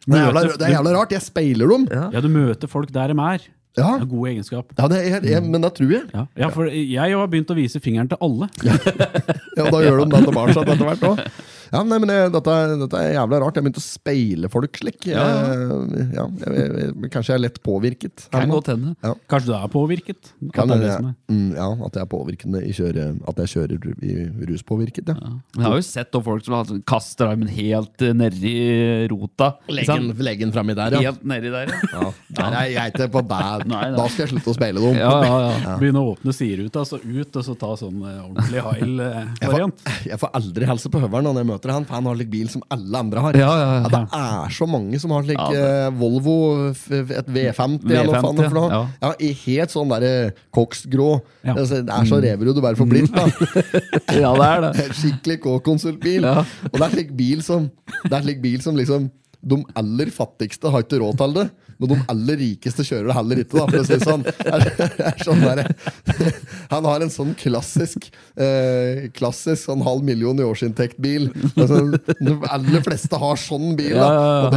Speaker 1: Det er, jævla, det er jævla rart. Jeg speiler dem. Ja,
Speaker 3: Ja, du møter folk der de er.
Speaker 1: ja.
Speaker 3: Det er god egenskap.
Speaker 1: det er, jeg, men det tror jeg.
Speaker 3: Ja, ja for jeg har begynt å vise fingeren til alle.
Speaker 1: Ja, og da gjør de det tilbake igjen etter hvert òg. Ja, nei, men eh, dette, er- dette er jævla rart. Jeg begynte å speile folk slik. Jeg, ja, jeg, jeg, jeg, kanskje jeg er lett påvirket.
Speaker 2: Kan godt hende.
Speaker 3: Kanskje du er påvirket? At
Speaker 1: Kan hende
Speaker 3: det er det
Speaker 1: jeg-
Speaker 3: som er.
Speaker 1: mm, ja, at jeg er påvirkende i kjøre, At jeg kjører ru- i ruspåvirket, ja.
Speaker 2: Men jeg har jo sett da folk som har sånn- kaster armen helt eh, nedi rota. ikke sant?
Speaker 1: Leggen fremme der,
Speaker 2: Helt nedi der. Ja,
Speaker 1: Nei, nei, jeg er ikke på deg.
Speaker 2: Nei, nei.
Speaker 1: Da skal jeg slutte å speile dem.
Speaker 2: ja, ja. ja.
Speaker 3: Begynne å åpne sideruta, så ut, og så ta sånn eh, ordentlig heil-variant.
Speaker 1: Jeg får aldri helse på høveren når jeg møter han, for han har like bil som alle andre har.
Speaker 2: Ja, ja, ja.
Speaker 1: det er så mange som har like
Speaker 2: Ja, det-
Speaker 1: eh, Volvo, f- et V50, eller hva faen det er for noe.
Speaker 2: ja.
Speaker 1: Ja, i helt sånn derre koksgrå.
Speaker 3: Ja.
Speaker 1: Altså, Det er så reverud du bare får blitt, da.
Speaker 2: Mm. ja, det er det.
Speaker 1: Skikkelig K-konsultbil.
Speaker 2: Ja.
Speaker 1: Og det er slik bil som Det er slik bil som liksom de aller fattigste har ikke råd til det, men de aller rikeste kjører det heller ikke. da, for å si det sånn. Det er, det er sånn der, han har en sånn klassisk eh, Klassisk sånn halv million i årsinntekt-bil. Altså, de aller fleste har sånn bil. da.
Speaker 2: Ja, ja,
Speaker 1: Og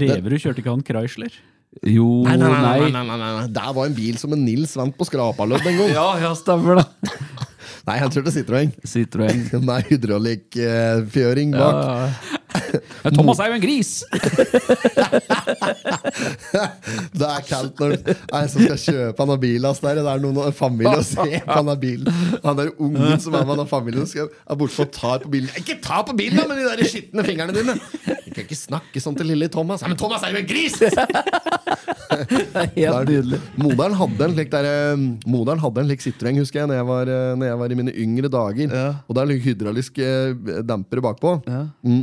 Speaker 1: det,
Speaker 3: Reverud kjørte ikke han Chrysler?
Speaker 2: Jo, nei.
Speaker 1: det var en bil som en Nils vant på skrapalødd en gang.
Speaker 2: Ja, ja, stemmer det.
Speaker 1: Nei, han kjørte Citroën.
Speaker 2: Citroën.
Speaker 1: Den er hydraulikkfjøring bak.
Speaker 2: Ja, ja. Thomas er jo en gris!
Speaker 1: Det er kaldt når det er en som skal kjøpe han har bil hans der. Det er noen av familien og se på han har bilen. Han der ungen som er med han har familien, skal, er borte og tar på bilen. Ikke ta på bilen, da, med de der skitne fingrene dine! Du kan ikke snakke sånn til lille Thomas. Ja, men Thomas er jo en gris!
Speaker 7: Helt nydelig.
Speaker 1: Moderen hadde en slik der, eh, Moderen hadde en slik Citroën, husker jeg, når jeg var, eh, når jeg var i mine yngre dager.
Speaker 7: Ja.
Speaker 1: Og det er litt hydraulisk eh, damper bakpå. Mm.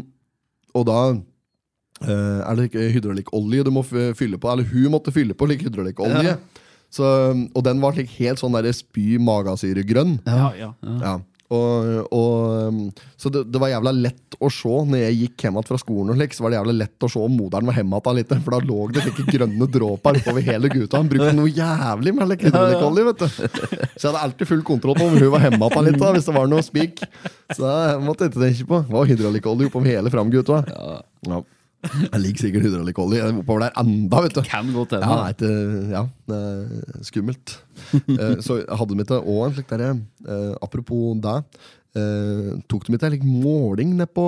Speaker 1: Og da eh, er det ikke hydraulikkolje du må f- fylle på. Eller hun måtte fylle på like hydraulikkolje. Så, Og den var slik helt sånn der spy-magasyregrønn.
Speaker 3: Ja, ja.
Speaker 1: Ja. Og, og, um, så det, det var jævla lett å se når jeg gikk hjem igjen fra skolen. Og slik, så var det jævla lett å se om moderen var hjemme igjen litt. For da lå det slike grønne dråper oppover hele gutta. Han brukte noe jævlig med hele krydderlikkolje, vet du. Så jeg hadde alltid full kontroll på om hun var hjemme igjen litt, da, hvis det var noe spik. Så jeg måtte ikke tenke på. Det var hydraulikkolje oppover hele fram, gutta. Ja. Jeg liker sikkert hydraulikkolje oppover der enda, vet du.
Speaker 2: Kan godt hende.
Speaker 1: Ja, nei, det, ja, det er skummelt. Eh, så jeg hadde mitt òg en slik derre eh, Apropos det. eh, tok de ikke en slik måling nede på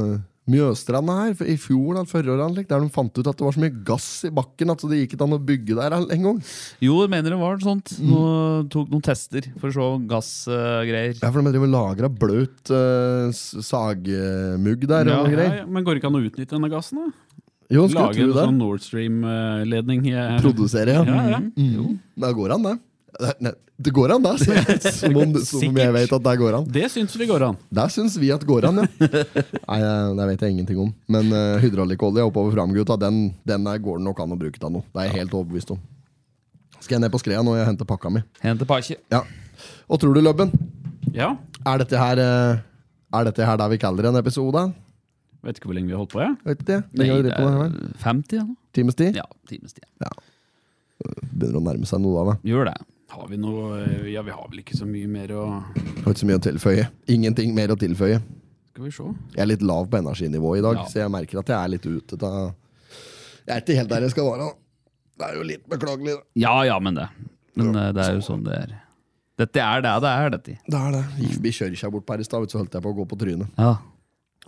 Speaker 1: eh, Mjøstranda her for- i fjor? eller forrige året, eller slik, Der de fant ut at det var så mye gass i bakken at det gikk ikke an å bygge der engang.
Speaker 2: Jo, jeg mener det var sånt.
Speaker 1: Mhm.
Speaker 2: Nå tok noen tester for å se gassgreier.
Speaker 1: Ja, for de driver lagra bløt eh, s- sagmugg der.
Speaker 2: Ja,
Speaker 1: og noe
Speaker 3: Ja,
Speaker 1: greier.
Speaker 3: ja, men går det ikke an å utnytte denne gassen? da?
Speaker 1: Jo, skulle
Speaker 3: Lage
Speaker 1: tro
Speaker 3: en
Speaker 1: det.
Speaker 3: sånn Nord Stream-ledning.
Speaker 1: Produsere, ja.
Speaker 3: Ja, ja.
Speaker 1: Det går an, det. Det- nei, Det går an, det. sier- Som om, som om jeg vet at det går an.
Speaker 3: Det syns vi går an.
Speaker 1: Der syns vi at går an, ja. Nei, eh, det vet jeg ingenting om. Men uh, hydraulikkolje oppover fram, gutta, den, den der går det nok an å bruke til noe. Det er jeg helt overbevist om. Skal jeg ned på skrea nå og hente pakka mi?
Speaker 2: Hente pakke.
Speaker 1: Ja. Og tror du, Løbben,
Speaker 3: Ja.
Speaker 1: er dette her eh, Er dette her der vi kaller det en episode?
Speaker 3: Vet ikke hvor lenge vi har holdt på, jeg.
Speaker 1: Vet ikke det.
Speaker 2: Nei,
Speaker 1: Nei,
Speaker 2: det er 50 ja, nå.
Speaker 1: Times tid?
Speaker 2: Ja, times tid.
Speaker 1: Begynner å nærme seg noe av det.
Speaker 2: Gjør det.
Speaker 3: Har vi noe eh, Ja, vi har vel ikke så mye mer å
Speaker 1: Har ikke så mye å tilføye. Ingenting mer å tilføye.
Speaker 3: Skal vi se.
Speaker 1: Jeg er litt lav på energinivået i dag,
Speaker 3: Ja.
Speaker 1: så jeg merker at jeg er litt ute av Jeg er ikke helt der jeg skal være. da. Det er jo litt beklagelig, det.
Speaker 2: Ja, ja, men det. Men eh, det er jo sånn det er. Dette er det det er, dette.
Speaker 1: Det er det. Gikk forbi kjørkja bort på her i stad, vet du, så holdt jeg på å gå på trynet.
Speaker 2: Ja.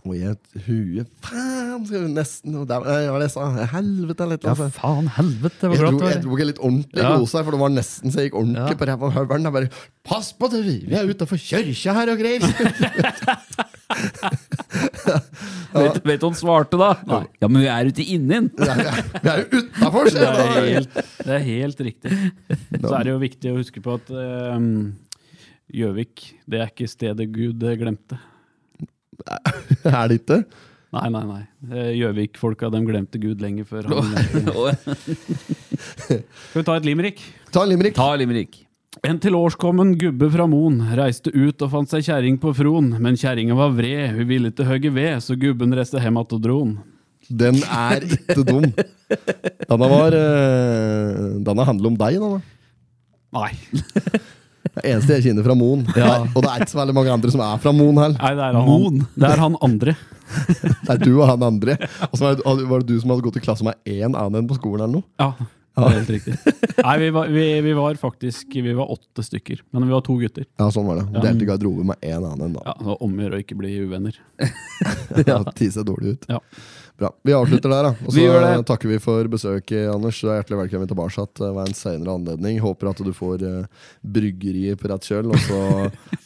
Speaker 1: Og i et hue Faen! skal vi Nesten og der, Nei, Hva var det jeg sa? Helvete eller et eller annet.
Speaker 2: faen helvete,
Speaker 1: Jeg
Speaker 2: hvor glatt
Speaker 1: dro,
Speaker 2: det
Speaker 1: jeg
Speaker 2: var.
Speaker 1: dro ikke litt ordentlig
Speaker 2: Ja.
Speaker 1: kos her, for det var nesten så jeg gikk ordentlig
Speaker 2: Ja.
Speaker 1: på ræva av høvelen. Jeg bare 'Pass på, det, vi er utafor kjørkja her og greier'.
Speaker 2: Vet, vet du hva han svarte da? Ja, men vi er ute i inninn.
Speaker 1: Vi er- vi er jo utafor,
Speaker 3: Det
Speaker 1: sier jeg
Speaker 3: er
Speaker 1: da.
Speaker 3: helt, det er helt riktig. Så er det jo viktig å huske på at ehm, Gjøvik, det er ikke stedet Gud eh, glemte.
Speaker 1: Er det ikke?
Speaker 3: Nei, nei, nei. Eh, Gjøvik-folka, de glemte Gud lenge før han glemte Gud. Skal vi ta et limerick?
Speaker 1: Ta en limerick.
Speaker 2: Ta Limerick.
Speaker 3: En tilårskommen gubbe fra Moen reiste ut og fant seg kjerring på Fron, men kjerringa var vred, hun ville ikke høgge ved, så gubben reiste hjem att og dron.
Speaker 1: Den er ikke dum. Denne var eh, Denne handler om deg, denne.
Speaker 3: Nei.
Speaker 1: Det eneste jeg kjenner fra Moen.
Speaker 2: Ja.
Speaker 1: Og det er ikke så veldig mange andre som er fra Moen heller.
Speaker 3: Nei, det er han,
Speaker 2: Moen.
Speaker 3: Det er han andre.
Speaker 1: Det er du og han andre. Og så var det, var det du som hadde gått i klasse med én annen enn på skolen? eller noe?
Speaker 3: Ja, det er helt riktig. Nei, vi var, vi, vi var faktisk vi var åtte stykker, men vi var to gutter.
Speaker 1: Ja, sånn var det. Delte garderobe med én annen. da.
Speaker 3: Ja, det var omgjør å ikke bli uvenner.
Speaker 1: Ja. Ti ser dårlig ut.
Speaker 3: Ja.
Speaker 1: Bra. Vi avslutter der, da. Og
Speaker 2: Vi gjør
Speaker 1: så
Speaker 2: det.
Speaker 1: takker vi for besøket, Anders. Du er hjertelig velkommen tilbake til hver en senere anledning. Håper at du får eh, bryggeriet på rett kjøl, og så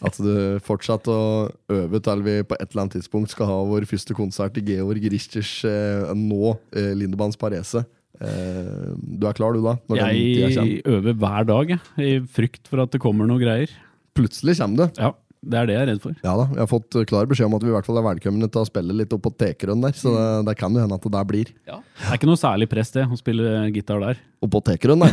Speaker 1: at du fortsetter å øve til vi på et eller annet tidspunkt skal ha vår første konsert i Georg Richters eh, nå eh, Lindemanns Parese. Eh, du er klar, du, da? Når den tida kommer.
Speaker 3: Jeg øver hver dag, jeg, i frykt for at det kommer noe greier.
Speaker 1: Plutselig kommer det.
Speaker 3: Ja, det er det jeg er redd for.
Speaker 1: Ja da, jeg har fått klar beskjed om at vi i hvert fall er velkomne til å spille litt opp på Tekerøn der, så det, det kan jo hende at det der blir.
Speaker 3: Det er ikke noe særlig press det, å spille gitar der.
Speaker 1: Opp på Tekerøn, nei.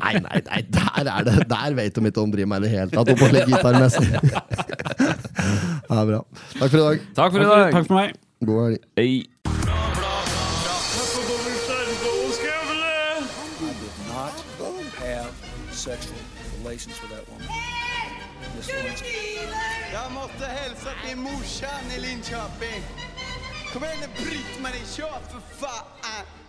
Speaker 1: Nei, nei, nei, der er det Der vet de ikke om de driver med i det hele tatt, opp på slik gitarmessig. Det er bra. Takk for i dag.
Speaker 2: Takk for i dag.
Speaker 3: Takk for meg.
Speaker 1: God helg.
Speaker 2: Hei.
Speaker 4: Not have sexual relations with that woman. Miss Lewinsky.
Speaker 5: Jag måste hälsa till morsan i Linköping. Kom igen nu Britt-Marie, kör för fan!